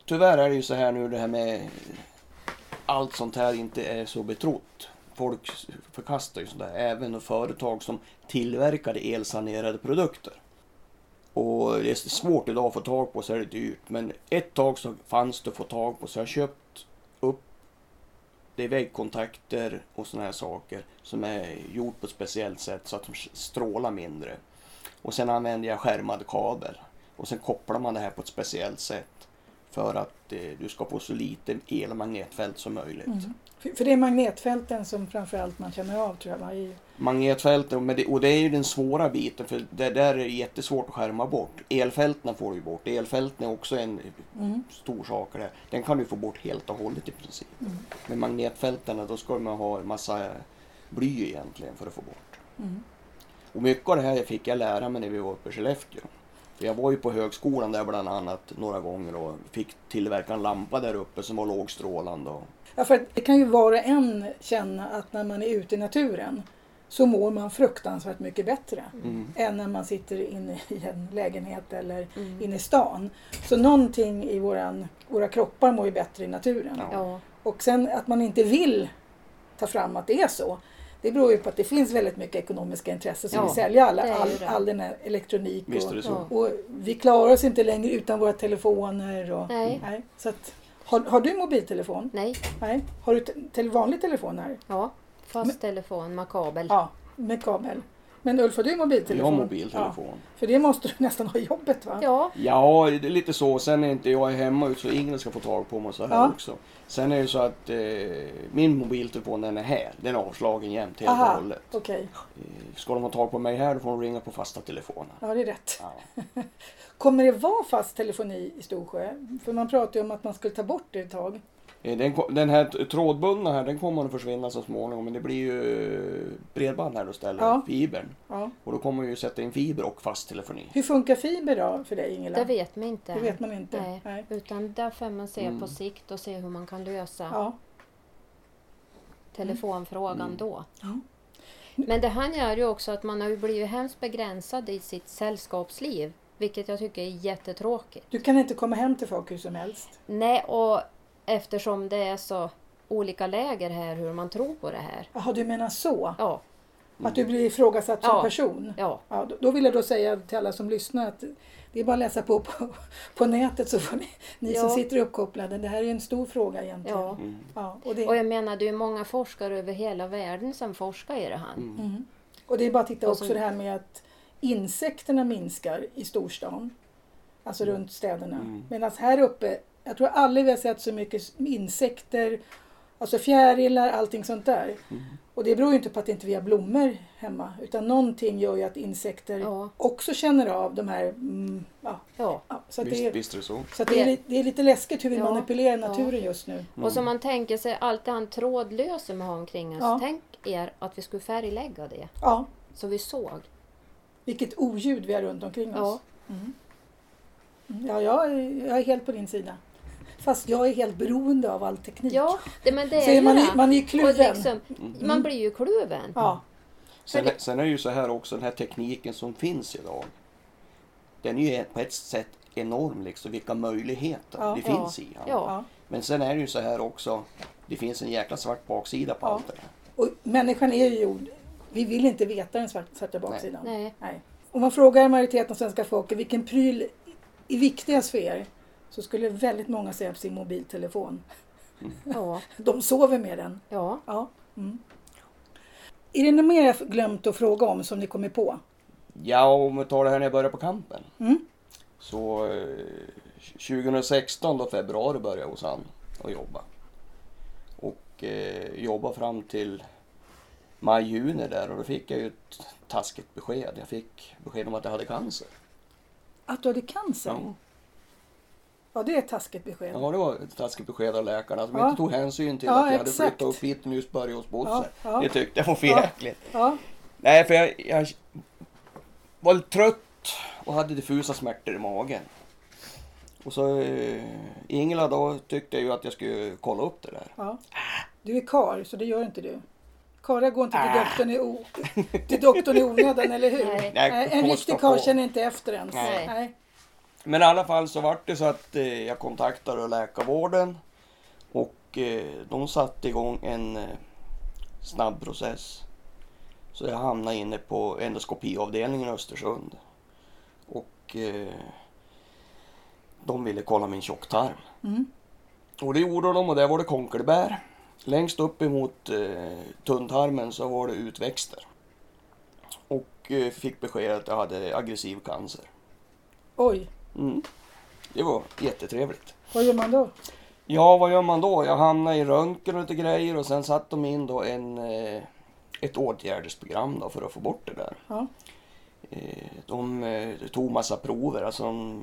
B: Tyvärr är det ju så här nu det här med allt sånt här inte är så betrott. Folk förkastar ju sånt där, även företag som tillverkade elsanerade produkter. Och det är svårt idag att få tag på så är det dyrt. Men ett tag så fanns det att få tag på så jag har köpt upp det är väggkontakter och såna här saker som är gjort på ett speciellt sätt så att de strålar mindre. Och sen använder jag skärmad kabel. Och sen kopplar man det här på ett speciellt sätt för att eh, du ska få så lite el och magnetfält som möjligt.
A: Mm. För, för det är magnetfälten som framförallt man känner av tror jag. va, I,
B: Magnetfält, och, med det, och det är ju den svåra biten för det där är jättesvårt att skärma bort. Elfälten får du ju bort. Elfälten är också en
A: mm.
B: stor sak. Där. Den kan du få bort helt och hållet i princip.
A: Mm.
B: Med magnetfälten då ska man ha en massa bly egentligen för att få bort.
A: Mm.
B: Och mycket av det här fick jag lära mig när vi var uppe i Skellefteå. För Jag var ju på högskolan där bland annat några gånger och fick tillverka en lampa där uppe som var lågstrålande. och-
A: Ja, för att det kan ju var och en känna att när man är ute i naturen så mår man fruktansvärt mycket bättre
B: Mm.
A: än när man sitter inne i en lägenhet eller
C: Mm.
A: inne i stan. Så någonting i våran, våra kroppar mår ju bättre i naturen.
B: Ja.
C: Ja.
A: Och sen att man inte vill ta fram att det är så. Det beror ju på att det finns väldigt mycket ekonomiska intressen som
C: Ja,
A: vill sälja alla,
C: det är ju
A: all,
C: det.
A: all den här elektronik.
B: Visst är det
A: och,
B: så.
C: Ja.
A: och vi klarar oss inte längre utan våra telefoner. Och,
C: Nej.
A: Nej, så att, har, har du mobiltelefon?
C: Nej.
A: Nej. Har du te, te, vanlig telefon här?
C: Ja. Fast telefon med kabel.
A: Ja, med kabel. Men Ulf, har du mobiltelefon?
B: Jag har mobiltelefon.
A: Ja, för det måste du nästan ha i jobbet va?
C: Ja.
B: Ja, det är lite så. Sen är inte jag hemma så ingen ska få tag på mig så här
A: Ja.
B: också. Sen är det så att eh, min mobiltelefon den är här. Den är avslagen jämt helt och
A: Aha,
B: hållet.
A: okej.
B: Eh, Ska de ha tag på mig här då får de ringa på fasta telefonen.
A: Ja, det är rätt.
B: Ja.
A: Kommer det vara fast telefoni i Storsjö? För man pratade ju om att man skulle ta bort det ett tag.
B: Eh, Den, ko- den här t- trådbundna här den kommer att försvinna så småningom men det blir ju eh, bredband här istället,
A: Ja.
B: fibern.
A: Ja.
B: Och då kommer vi ju sätta in fiber och fast telefoni.
A: Hur funkar fiber då för dig Ingela?
C: Det vet man inte.
A: Det vet man inte.
C: Nej. Utan där får man se på sikt och se hur man kan lösa
A: Ja.
C: telefonfrågan då.
A: Ja.
C: Men det här gör ju också att man har ju blivit hemskt begränsad i sitt sällskapsliv. Vilket jag tycker är jättetråkigt.
A: Du kan inte komma hem till folk hur som helst.
C: Nej, och eftersom det är så olika läger här hur man tror på det här.
A: Jaha, du menar så?
C: Ja,
A: Att du blir ifrågasatt som
C: Ja.
A: person?
C: ja.
A: Ja, då- då vill jag då säga till alla som lyssnar att det är bara att läsa på på, på nätet så får ni, ni som
C: Ja.
A: sitter uppkopplade. Det här är ju en stor fråga egentligen.
C: Ja.
B: Mm.
A: Ja, och, det,
C: Och jag menar, det är ju många forskare över hela världen som forskar i det här.
A: mm. och det är bara att titta
C: Och så-
A: också det här med att insekterna minskar i storstan. Alltså runt städerna. Medan här uppe, jag tror aldrig vi har sett så mycket insekter, alltså fjärilar, allting sånt där. Och det beror ju inte på att inte vi har blommor hemma utan någonting gör ju att insekter
C: Ja.
A: också känner av de här... Mm, ja,
C: Ja.
A: ja, så att
B: Visst,
A: det,
B: visst är det så.
A: Så att det, är, li- det är lite läskigt hur vi
C: Ja,
A: manipulerar
C: ja.
A: naturen just nu.
B: Mm.
C: Och som man tänker sig, allt det här trådlösa man har omkring oss.
A: Ja.
C: Tänk er att vi skulle färglägga det.
A: Ja,
C: Så vi såg.
A: vilket oljud vi har runt omkring oss.
C: Ja.
A: Mm, Ja, jag, är- jag är helt på din sida. Fast jag är helt beroende av all teknik.
C: Ja, det, men det
A: Så
C: är
A: är
C: ju
A: man,
C: det.
A: i- Mm. man är ju
C: Och
A: kluven.
C: liksom, Man blir ju kluven.
A: Ja,
B: Mm. Sen,
C: För det-
B: sen är det ju så här också, den här tekniken som finns idag. Den är ju på ett sätt enorm liksom, vilka möjligheter
A: Ja,
B: det
C: ja.
B: finns i. den.
C: Ja.
A: ja.
B: Men sen är det ju så här också, det finns en jäkla svart baksida på
A: Ja.
B: allt det där.
A: Och människan är ju gjord... Vi vill inte veta den svart- svarta baksidan.
C: Nej.
A: Om man frågar majoriteten av svenska folket vilken pryl är viktigast för er så skulle väldigt många säga sin mobiltelefon.
C: Ja.
A: De sover med den.
C: ja.
A: Ja. Mm. Är det något mer jag glömt att fråga om som ni kommer på?
B: Ja, om vi tar det här när jag började på kampen.
A: Mm.
B: Så eh, 2016 då februari började jag hos han och jobba. Och eh, jobba fram till maj, juni där och då fick jag ju ett taskigt besked. Jag fick besked om att jag hade cancer.
A: Att du hade cancer?
B: Ja.
A: Ja, det är ett taskigt besked.
B: Ja, det var ett taskigt besked av läkarna som
A: Ja.
B: inte tog hänsyn till
A: Ja,
B: att jag hade
A: exakt.
B: flyttat upp hit och nyss börjat hos Bosse.
A: Ja, ja.
B: Det tyckte jag var för
A: Ja.
B: jäkligt.
A: Ja.
B: Nej, för jag, jag var lite trött och hade diffusa smärtor i magen. Och så eh, Ingela då tyckte ju att jag skulle kolla upp det där.
A: ja. Du är kar, så det gör inte du. Karlar går inte
B: Äh.
A: till doktorn i, o- till doktorn i onödan, eller hur?
C: Nej.
B: Nej,
A: en
B: påstå
A: riktig karl
B: på.
A: känner inte efter ens.
C: Nej.
A: Nej.
B: Men i alla fall så vart det så att eh, jag kontaktade läkarvården och eh, de satte igång en eh, snabb process. Så jag hamnade inne på endoskopiavdelningen i Östersund. Och eh, de ville kolla min tjocktarm.
A: Mm.
B: Och det gjorde de och där var det konkelbär. Längst upp emot eh, tunntarmen så var det utväxter. Och eh, fick besked att jag hade aggressiv cancer.
A: Oj,
B: Mm. Det var jättetrevligt.
A: vad gör man då?
B: Ja, vad gör man då? Jag hamnade i röntgen och lite grejer och sen satte de in då en, eh, ett åtgärdsprogram då för att få bort det där.
A: Ja.
B: Eh, De eh, tog massa prover. Alltså de,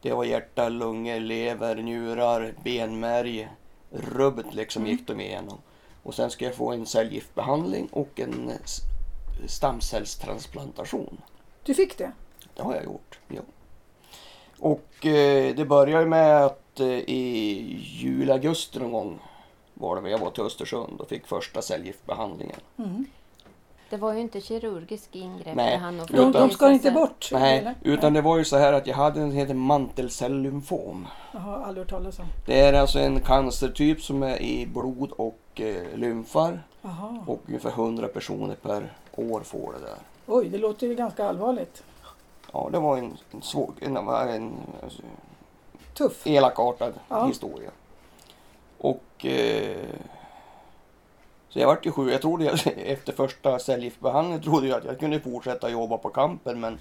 B: det var hjärta, lungor, lever, njurar, benmärg. Rubbet liksom gick de igenom. Och sen ska jag få en cellgiftbehandling och en eh, s- stamcellstransplantation.
A: Du fick det?
B: Det har jag gjort, ja. Och eh, det börjar ju med att eh, i juli, augusti någon gång var det väl jag var till Östersund och fick första cellgiftbehandlingen.
A: Mm.
C: Det var ju inte kirurgisk ingrepp.
B: Nej,
C: det hann nog
A: De, de
C: förberedas
A: ska inte
C: sen.
A: bort?
B: Nej,
A: eller?
B: utan det var ju så här att jag hade en som heter mantelcellymfom.
A: Jag har aldrig hört talas om.
B: Det är alltså en cancertyp som är i blod och eh, lymfar
A: Jaha.
B: och ungefär 100 personer per år får det där.
A: Oj, det låter ju ganska allvarligt.
B: Ja, det var en, en svår, en, en alltså,
A: Tuff.
B: elakartad
A: Ja.
B: historia. Och... Eh, så jag vart ju sjuk. Jag trodde jag, efter första cellgiftbehandlingen trodde jag att jag kunde fortsätta jobba på kampen men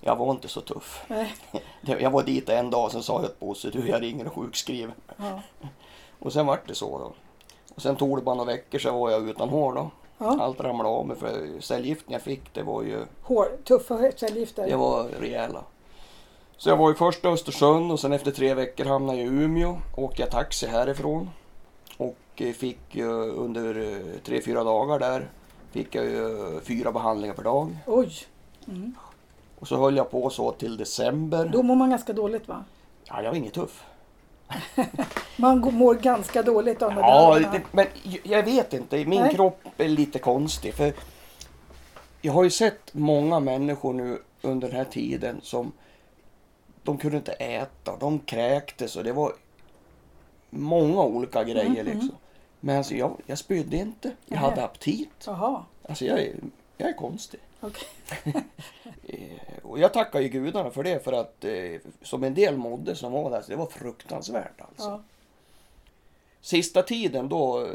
B: jag var inte så tuff.
A: Nej.
B: Det- Jag var dit en dag sen sa jag till Bosse du jag ringer och sjukskriver.
A: Ja.
B: Och sen vart det så då. Och sen tog det bara några veckor så var jag utan hår då.
A: Ja.
B: Allt ramlade av mig för cellgiften jag fick det var ju
A: Hår, tuffa cellgifter?
B: det var rejäla. Så jag var ju först i Östersund och sen efter tre veckor hamnade jag i Umeå. Åkte jag taxi härifrån. Och eh, fick ju under eh, tre, fyra dagar där fick jag ju eh, fyra behandlingar per dag.
A: Oj. Mm.
B: Och så höll jag på så till december.
A: Då mår man ganska dåligt va?
B: Ja, jag var ingen tuff.
A: Man g- mår ganska dåligt av de
B: Ja,
A: där.
B: det, men j- jag vet inte. Min
A: Nej.
B: kropp är lite konstig. För jag har ju sett många människor nu under den här tiden som de kunde inte äta, de kräktes och det var många olika grejer. liksom. Men alltså, jag, jag spydde inte, jag
A: Nej.
B: hade aptit.
A: Jaha,
B: Alltså, jag, är, jag är konstig.
A: okej.
B: Eh, Och jag tackar ju gudarna för det för att eh, som en del mådde som var där, så det var fruktansvärt alltså.
A: Ja.
B: Sista tiden då,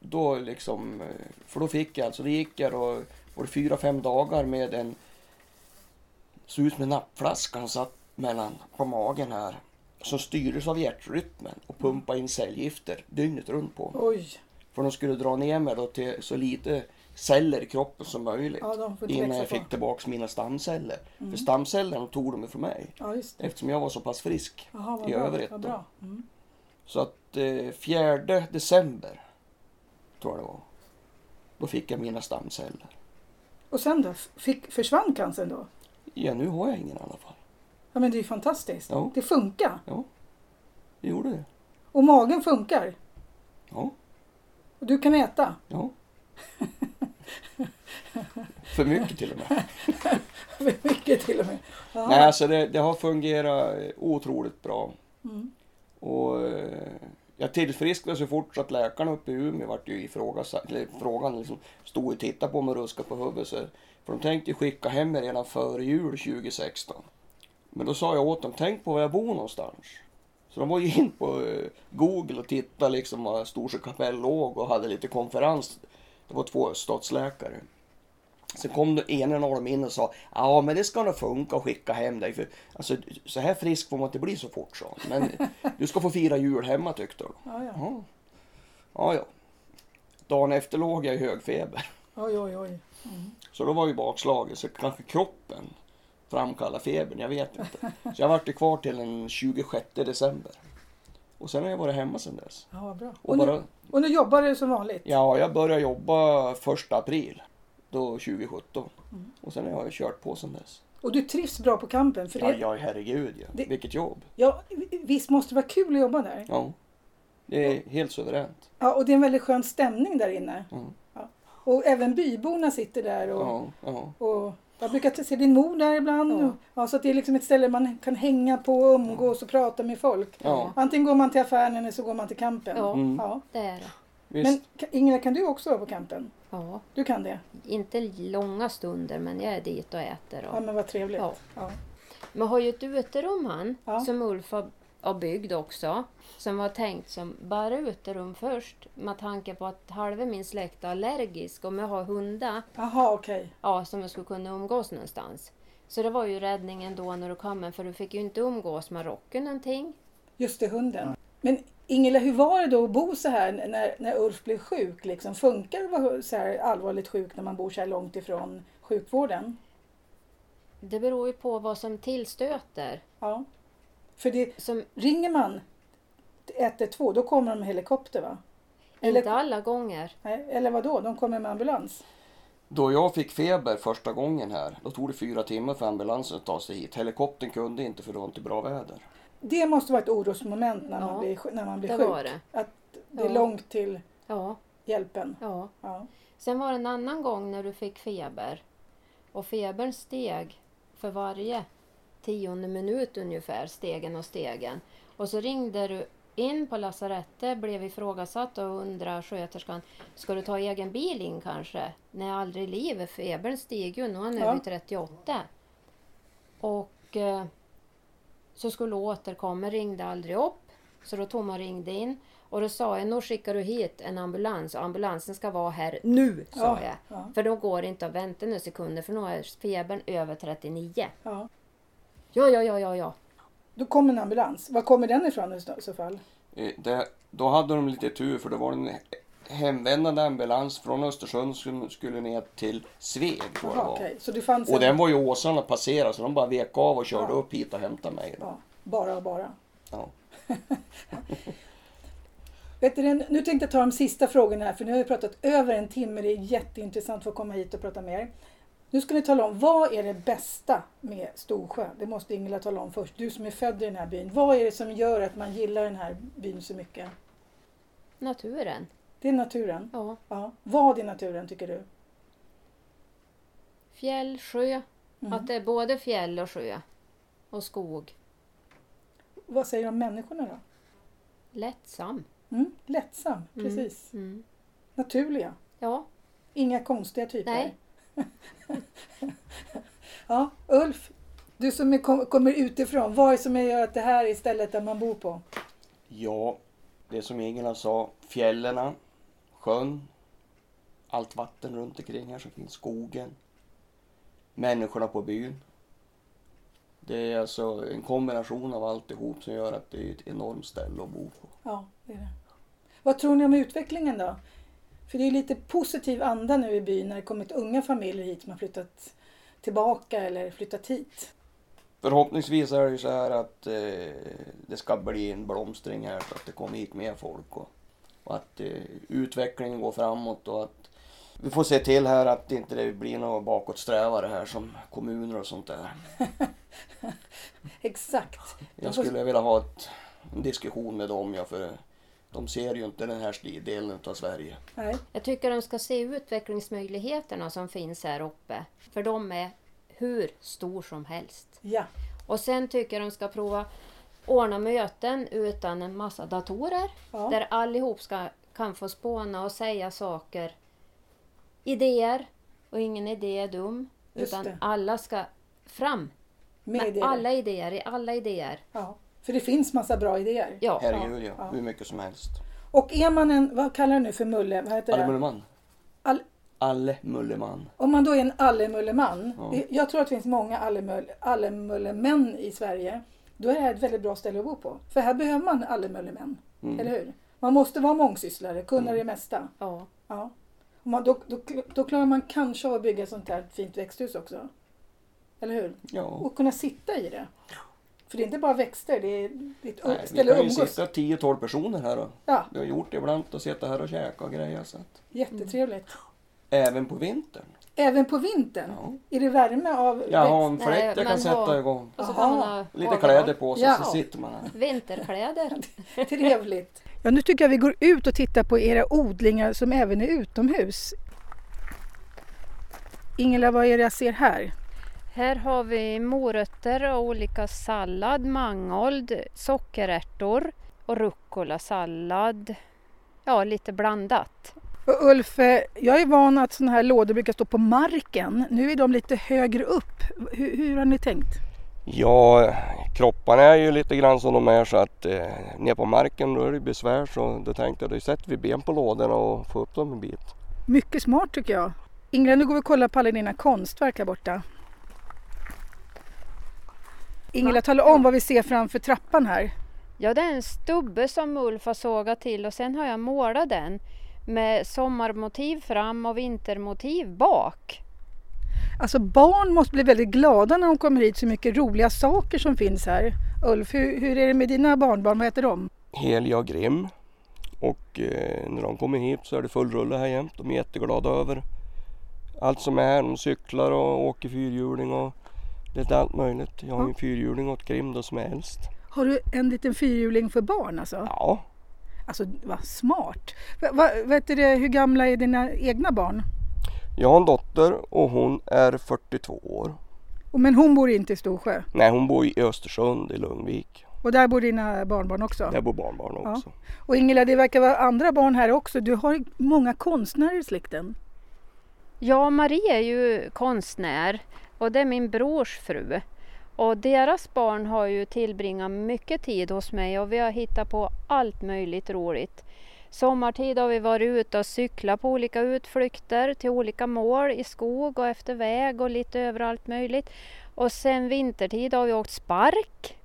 B: då liksom, för då fick jag alltså, det gick jag då, var det fyra, fem dagar med en, såg ut som en nappflaska han satt mellan, på magen här, som styrdes av hjärtrytmen och pumpade in cellgifter dygnet runt på mig.
A: Oj,
B: För de skulle dra ner mig då till så lite celler i kroppen som möjligt
A: ja, de får inte
B: innan jag
A: växa
B: fick
A: på.
B: tillbaka mina stamceller. För stamcellerna tog de ifrån mig
A: Mm. Ja, just det.
B: eftersom jag var så pass frisk.
A: Jaha, vad
B: i
A: bra.
B: övrigt
A: Vad
B: då.
A: bra. Mm.
B: Så att eh, 4 december, tror jag det var, då fick jag mina stamceller.
A: Och sen då? F- Fick, försvann cancern då?
B: Ja, nu har jag ingen i alla fall.
A: Ja, men det är ju fantastiskt.
B: Ja.
A: Det funkar.
B: Ja, det gjorde det.
A: Och magen funkar.
B: Ja,
A: Och du kan äta.
B: ja. För mycket till och med.
A: Mycket till och med. Ja.
B: Nej, alltså det, det har fungerat eh, otroligt bra.
A: Mm.
B: Och eh, jag tillfrisknade så fort så att läkarna uppe i Umeå vart ju ifrågasatt, eller frågan liksom stod och tittade på mig och ruskade på huvudet. Så, för de tänkte ju skicka hem mig redan före jul 2016. Men då sa jag åt dem, tänk på var jag bor någonstans. Så de var ju in på eh, Google och tittade liksom var Storsjö kapell låg och hade lite konferens. Det var två öststatsläkare. Sen kom den ena av dem in och sa ja men det ska nog funka att skicka hem dig. För, alltså, så här frisk får man inte bli så fort sa han. Men du ska få fira jul hemma tyckte de.
A: Ja, ja.
B: Ja. ja, ja. Dagen efter låg jag i hög feber.
A: Oj, oj, oj.
B: Så då var ju bakslaget. Så kanske kroppen framkallar febern, jag vet inte. Så jag vart ju kvar till den 26 december. Och sen har jag varit hemma sedan dess.
A: Ja, vad bra.
B: Och
A: Och nu,
B: bara-
A: och nu jobbar du som vanligt?
B: Ja, jag började jobba 1 april då 2017. Och sen har jag kört på sedan dess.
A: Och du trivs bra på campen? För det,
B: Ja, ja herregud ja.
A: Det-
B: Vilket jobb.
A: Ja, visst måste det vara kul att jobba där?
B: Ja. Det är helt suveränt.
A: Ja, och det är en väldigt skön stämning där inne.
B: Mm.
A: Och även byborna sitter där och,
B: Ja, ja.
A: och Jag brukar se din mor där ibland.
C: Ja.
A: Och, ja, så att det är liksom ett ställe man kan hänga på och umgås och prata med folk.
B: Ja.
A: Antingen går man till affären eller så går man till campen.
C: Ja.
B: Mm.
A: Ja.
C: Det är det.
B: Visst.
A: Men Ka- Ingela, kan du också vara på campen?
C: Ja,
A: Du kan det?
C: inte långa stunder men jag är dit och äter.
A: Ja,
C: Och,
A: men vad trevligt.
C: Ja.
A: Ja.
C: men har ju ett uterum han,
A: Ja.
C: som Ulf har, har byggt också. Som var tänkt som bara uterum först. Med tanke på att halva min släkt är allergisk. Om jag har hundar
A: Jaha, okej.
C: ja, som jag skulle kunna umgås någonstans. Så det var ju räddningen då när du kom för du fick ju inte umgås med rocken någonting.
A: Just det, hunden. Men Ingela, hur var det då att bo så här n- när, när Ulf blev sjuk? Liksom? Funkar det att vara så här allvarligt sjuk när man bor så här långt ifrån sjukvården?
C: Det beror ju på vad som tillstöter.
A: Ja. För det,
C: Som
A: ringer man 112, då kommer de med helikopter va? Eller-
C: inte alla gånger.
A: Nej, eller vad då? De kommer med ambulans?
B: Då jag fick feber första gången här, då tog det fyra timmar för ambulansen att ta sig hit. Helikoptern kunde inte för det var inte bra väder.
A: Det måste vara ett orosmoment när man
C: Ja,
A: blir, sj- när man blir
C: det
A: sjuk.
C: var det.
A: Att det är
C: Ja.
A: långt till
C: Ja,
A: hjälpen.
C: ja.
A: Ja.
C: Sen var det en annan gång när du fick feber. Och febern steg för varje tionde minut ungefär, stegen och stegen. Och så ringde du in på lasarettet, blev ifrågasatt och undrade sköterskan, ska du ta egen bil in kanske? Nej, aldrig i livet. Febern steg ju, nu är han
A: Ja.
C: över 38. Och eh, så skulle återkomma, ringde aldrig upp. Så då Tomma ringde in och då sa jag, nu skickar du hit en ambulans och ambulansen ska vara här nu, sa
A: Ja,
C: jag.
A: ja.
C: För då går det inte att vänta några sekunder för nu är febern över 39.
A: Ja.
C: Ja, ja, ja, ja, ja.
A: Då kommer en ambulans. Var kommer den ifrån i så- så fall?
B: Eh, Det, då hade de lite tur för det var en hemvändande ambulans från Östersund som skulle ner till Sveg tror jag det
A: Jaha,
B: var.
A: okej. Så det fanns
B: Och
A: en...
B: den var ju åsarna passerade så de bara vek av och körde
A: Ja.
B: upp hit och hämtade mig.
A: Ja, bara och bara.
B: Ja.
A: Vet du, det, nu tänkte jag ta de sista frågorna här för nu har vi pratat över en timme. Det är jätteintressant att få komma hit och prata med er. Nu ska ni tala om vad är det bästa med Storsjö? Det måste Ingela tala om först. Du som är född i den här byn. Vad är det som gör att man gillar den här byn så mycket?
C: Naturen.
A: Det är naturen.
C: Ja.
A: Ja. Vad är naturen tycker du?
C: Fjäll, sjö.
A: Mm.
C: Att det är både fjäll och sjö. Och skog.
A: Vad säger du om människorna då?
C: Lättsam.
A: Mm? Lättsam, precis.
C: Mm.
A: Naturliga.
C: Ja,
A: Inga konstiga typer.
C: nej.
A: Ja, Ulf, du som är, kom, kommer utifrån. Vad är det som gör att det här är stället där man bor på?
B: ja, det som Ingela sa, fjällen, sjön, allt vatten runt omkring här som finns, skogen, människorna på byn. Det är alltså en kombination av alltihop som gör att det är ett enormt ställe att bo på.
A: Ja, det är det. Vad tror ni om utvecklingen då? För det är ju lite positiv anda nu i byn när det kommit unga familjer hit som har flyttat tillbaka eller flyttat hit.
B: Förhoppningsvis är det ju så här att eh, det ska bli en blomstring här så att det kommer hit mer folk och, och att eh, utvecklingen går framåt och att vi får se till här att det inte det blir några bakåtsträvare här som kommuner och sånt där.
A: Exakt. De
B: Jag
A: får-
B: skulle vilja ha ett, en diskussion med dem ja, för de ser ju inte den här sti- delen av Sverige.
A: Nej,
C: Jag tycker de ska se utvecklingsmöjligheterna som finns här uppe. För de är hur stor som helst.
A: ja.
C: Och sen tycker jag de ska prova ordna möten utan en massa datorer.
A: Ja.
C: Där allihop ska, kan få spåna och säga saker. Idéer. Och ingen idé är dum.
A: Just
C: utan
A: det.
C: alla ska fram.
A: Med
C: Med
A: idéer.
C: alla idéer, i alla idéer.
A: Ja. För det finns massa bra idéer.
C: Ja.
B: Herregud
A: Ja,
B: ja,
A: ja.
B: hur mycket som helst.
A: Och är man en, vad kallar du nu för mulle? Vad heter
B: Alle
A: det?
B: Mulleman.
A: All,
B: Alle Mulleman.
A: om man då är en allemulleman.
B: Ja.
A: det- Jag tror att det finns många allemull- allemullemän i Sverige. Då är det här ett väldigt bra ställe att bo på. För här behöver man allemullemän.
B: Mm.
A: Eller hur? Man måste vara mångsysslare, kunna det mesta.
C: Ja.
A: Ja. Och man, då, då, då klarar man kanske av att bygga ett sånt här fint växthus också. Eller hur?
B: Ja.
A: Och kunna sitta i det. För det är inte bara växter, det är det är ett
B: Nej, vi
A: ställe att
B: kan ju
A: umgås.
B: sitta 10-12 personer här då.
A: Ja,
B: Vi har gjort det ibland och sitta här och käka och grejer. Så att,
A: jättetrevligt.
B: Mm. även på vintern.
A: Även på vintern?
B: Ja.
A: Är det värme av
B: Jag har en
C: Nej,
B: fläkt jag
C: men
B: kan
C: ha-
B: sätta igång.
C: Och så
A: Aha.
C: kan man ha
B: Lite
C: overall.
B: kläder på sig
A: Ja.
B: så sitter man här.
C: Vinterkläder.
A: Trevligt. Ja, nu tycker jag vi går ut och tittar på era odlingar som även är utomhus. Ingela, vad är det jag ser här?
C: Här har vi morötter och olika sallad, mangold, sockerärtor och rucola-sallad. Ja, lite blandat.
A: Och Ulf, eh, jag är van att sådana här lådor brukar stå på marken. Nu är de lite högre upp. Hur, hur har ni tänkt?
B: Ja, kropparna är ju lite grann som de är så att eh, ner på marken då är det besvär så då tänkte jag då sätter vi ben på lådorna och får upp dem en bit.
A: Mycket smart tycker jag. Ingrid, nu går vi och kollar på alla dina konstverk här borta. Ingela, tala om vad vi ser framför trappan här.
C: Ja, det är en stubbe som Ulf har sågat till och sen har jag målat den med sommarmotiv fram och vintermotiv bak.
A: Alltså barn måste bli väldigt glada när de kommer hit, så mycket roliga saker som finns här. Ulf, hur, hur är det med dina barnbarn? Vad heter de?
B: Helia och Grim. Och eh, när de kommer hit så är det full rulle här jämt. De är jätteglada över allt som är här. De cyklar och åker fyrhjuling och lite allt möjligt. Jag har ju en fyrhjuling åt Grim då som är äldst.
A: Har du en liten fyrhjuling för barn alltså?
B: Ja,
A: Alltså vad smart! Va, va, vet du det, hur gamla är dina egna barn?
B: jag har en dotter och hon är 42 år.
A: Och- Men hon bor inte i Storsjö
B: Nej, hon bor i Östersund i Lugnvik.
A: och där bor dina barnbarn också.
B: Där bor barnbarnen
A: Ja.
B: också.
A: Och Ingela, det verkar vara andra barn här också. Du har många konstnärer i släkten.
C: Ja, Marie är ju konstnär och det är min brors fru. Och deras barn har ju tillbringat mycket tid hos mig och vi har hittat på allt möjligt roligt. Sommartid har vi varit ute och cyklat på olika utflykter till olika mål i skog och efter väg och lite överallt möjligt. Och sen vintertid har vi åkt spark.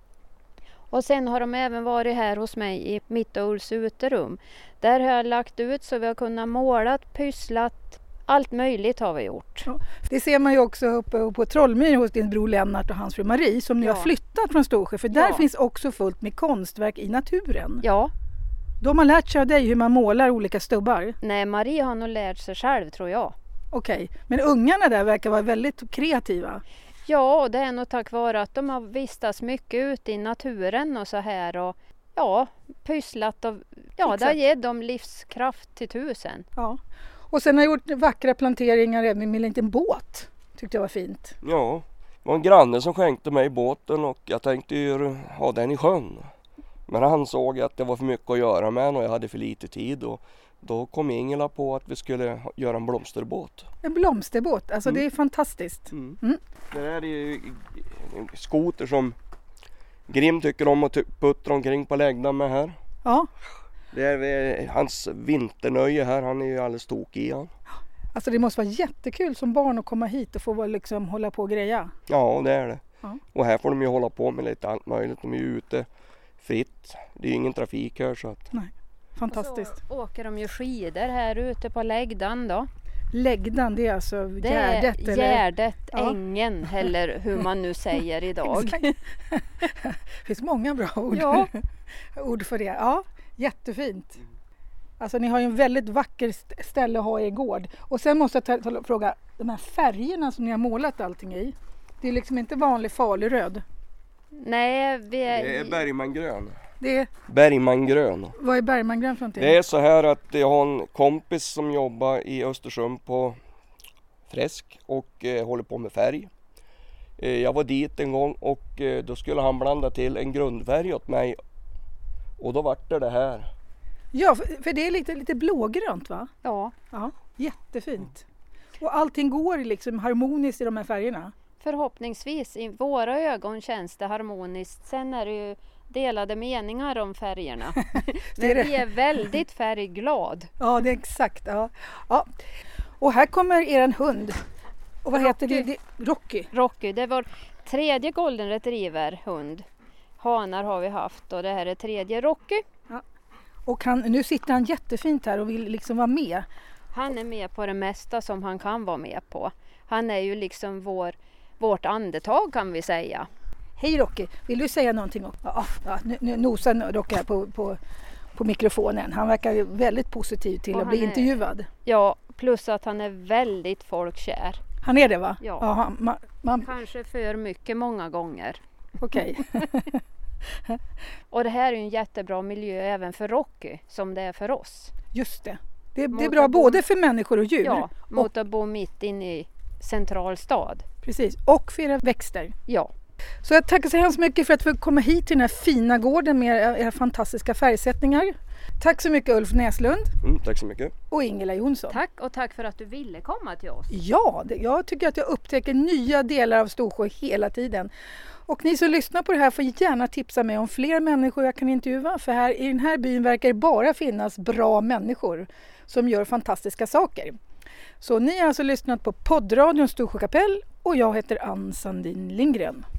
C: Och sen har de även varit här hos mig i mitt och Ulfs uterum. Där har jag lagt ut så vi har kunnat målat, pysslat, allt möjligt har vi gjort.
A: Det ser man ju också uppe på Trollmyr hos din bror Lennart och hans fru Marie som nu
C: Ja.
A: har flyttat från Storsjö för där
C: Ja.
A: finns också fullt med konstverk i naturen.
C: Ja,
A: De har lärt sig av dig hur man målar olika stubbar.
C: nej Marie har nog lärt sig själv tror jag.
A: Okej, men ungarna där verkar vara väldigt kreativa.
C: Ja, och det är nog tack vare att de har vistats mycket ute i naturen och så här och ja, pysslat och ja, det har
A: Exakt.
C: gett dem livskraft till tusen.
A: Ja. Och sen har jag gjort vackra planteringar även med en liten båt. Tyckte jag var fint.
B: Ja, det var en granne som skänkte mig båten och jag tänkte ju ha den i sjön. Men han såg att det var för mycket att göra med den och jag hade för lite tid och då kom Ingela på att vi skulle ha- göra en blomsterbåt.
A: En blomsterbåt, alltså
B: Mm.
A: det är fantastiskt.
B: Det där är ju en skoter som Grim tycker om att ty- puttra omkring på läggdagen med här.
A: Ja,
B: Det är eh, hans vinternöje här, han är ju alldeles tokig i han.
A: alltså det måste vara jättekul som barn att komma hit och få vara liksom hålla på och greja.
B: Ja, det är det.
A: Ja.
B: Och här får de ju hålla på med lite allt möjligt. De är ju ute fritt. Det är ju ingen trafik här så att
A: Fantastiskt.
C: Och så åker de ju skidor här ute på läggdan då.
A: Läggdan, det är alltså
C: Det är
A: gärdet?
C: Gärdet,
A: eller? Ja.
C: ängen eller hur man nu säger idag.
A: Exakt. Det finns många bra ord,
C: Ja.
A: ord för det. Ja, jättefint. Alltså ni har ju en väldigt vacker st- ställe att ha i er gård. Och sen måste jag ta, ta, fråga, de här färgerna som ni har målat allting i. Det är liksom inte vanlig faluröd.
C: Nej, vi är,
B: Det är Bergmangrön.
A: Det är,
B: Eh, Bergmangrön.
A: vad är Bergmangrön för någonting?
B: Det är så här att jag har en kompis som jobbar i Östersund på Fräsk och eh, håller på med färg. Eh, jag var dit en gång och eh, då skulle han blanda till en grundfärg åt mig. Och då vart det det här.
A: Ja, för, för det är lite, lite blågrönt va?
C: ja,
A: Ja, jättefint. Och allting går liksom harmoniskt i de här färgerna.
C: Förhoppningsvis, i våra ögon känns det harmoniskt. Sen är det ju delade meningar om färgerna.
A: Det är
C: Men
A: det.
C: vi är väldigt färgglad.
A: Ja, det är exakt. Ja. Ja. Och här kommer er hund. Och vad heter det?
C: Rocky.
A: det? Rocky.
C: Rocky, det är vår tredje golden retriever hund. Hanar har vi haft och det här är tredje Rocky.
A: Och han, nu sitter han jättefint här och vill liksom vara med.
C: Han är med på det mesta som han kan vara med på. Han är ju liksom vår, vårt andetag kan vi säga.
A: Hej Rocky, vill du säga någonting? också? Ja, ja, nu, nu nosar Rocky här på, på, på mikrofonen. Han verkar ju väldigt positiv till
C: Och
A: att bli
C: han är-
A: intervjuad.
C: Ja, plus att han är väldigt folkkär.
A: Han är det va?
C: Ja.
A: han, man, man,
C: Kanske för mycket många gånger.
A: Okej.
C: Och det här är ju en jättebra miljö även för Rocky som det är för oss.
A: Just det. Det, det är
C: Mot
A: bra
C: att bo-
A: både för människor och djur.
C: Ja, mot att bo mitt inne i central stad.
A: Precis, och för era växter.
C: Ja,
A: Så jag tackar så hemskt mycket för att vi kom hit till den här fina gården med era- era fantastiska färgsättningar. Tack så mycket Ulf Näslund
B: Mm, tack så mycket.
A: och Ingela Jonsson.
C: tack och tack för att du ville komma till oss.
A: Ja, det, jag tycker att jag upptäcker nya delar av Storsjö hela tiden. Och ni som lyssnar på det här får gärna tipsa mig om fler människor jag kan intervjua för här i den här byn verkar det bara finnas bra människor som gör fantastiska saker. Så ni har alltså lyssnat på poddradion Storsjö kapell och jag heter Ann Sandin Lindgren.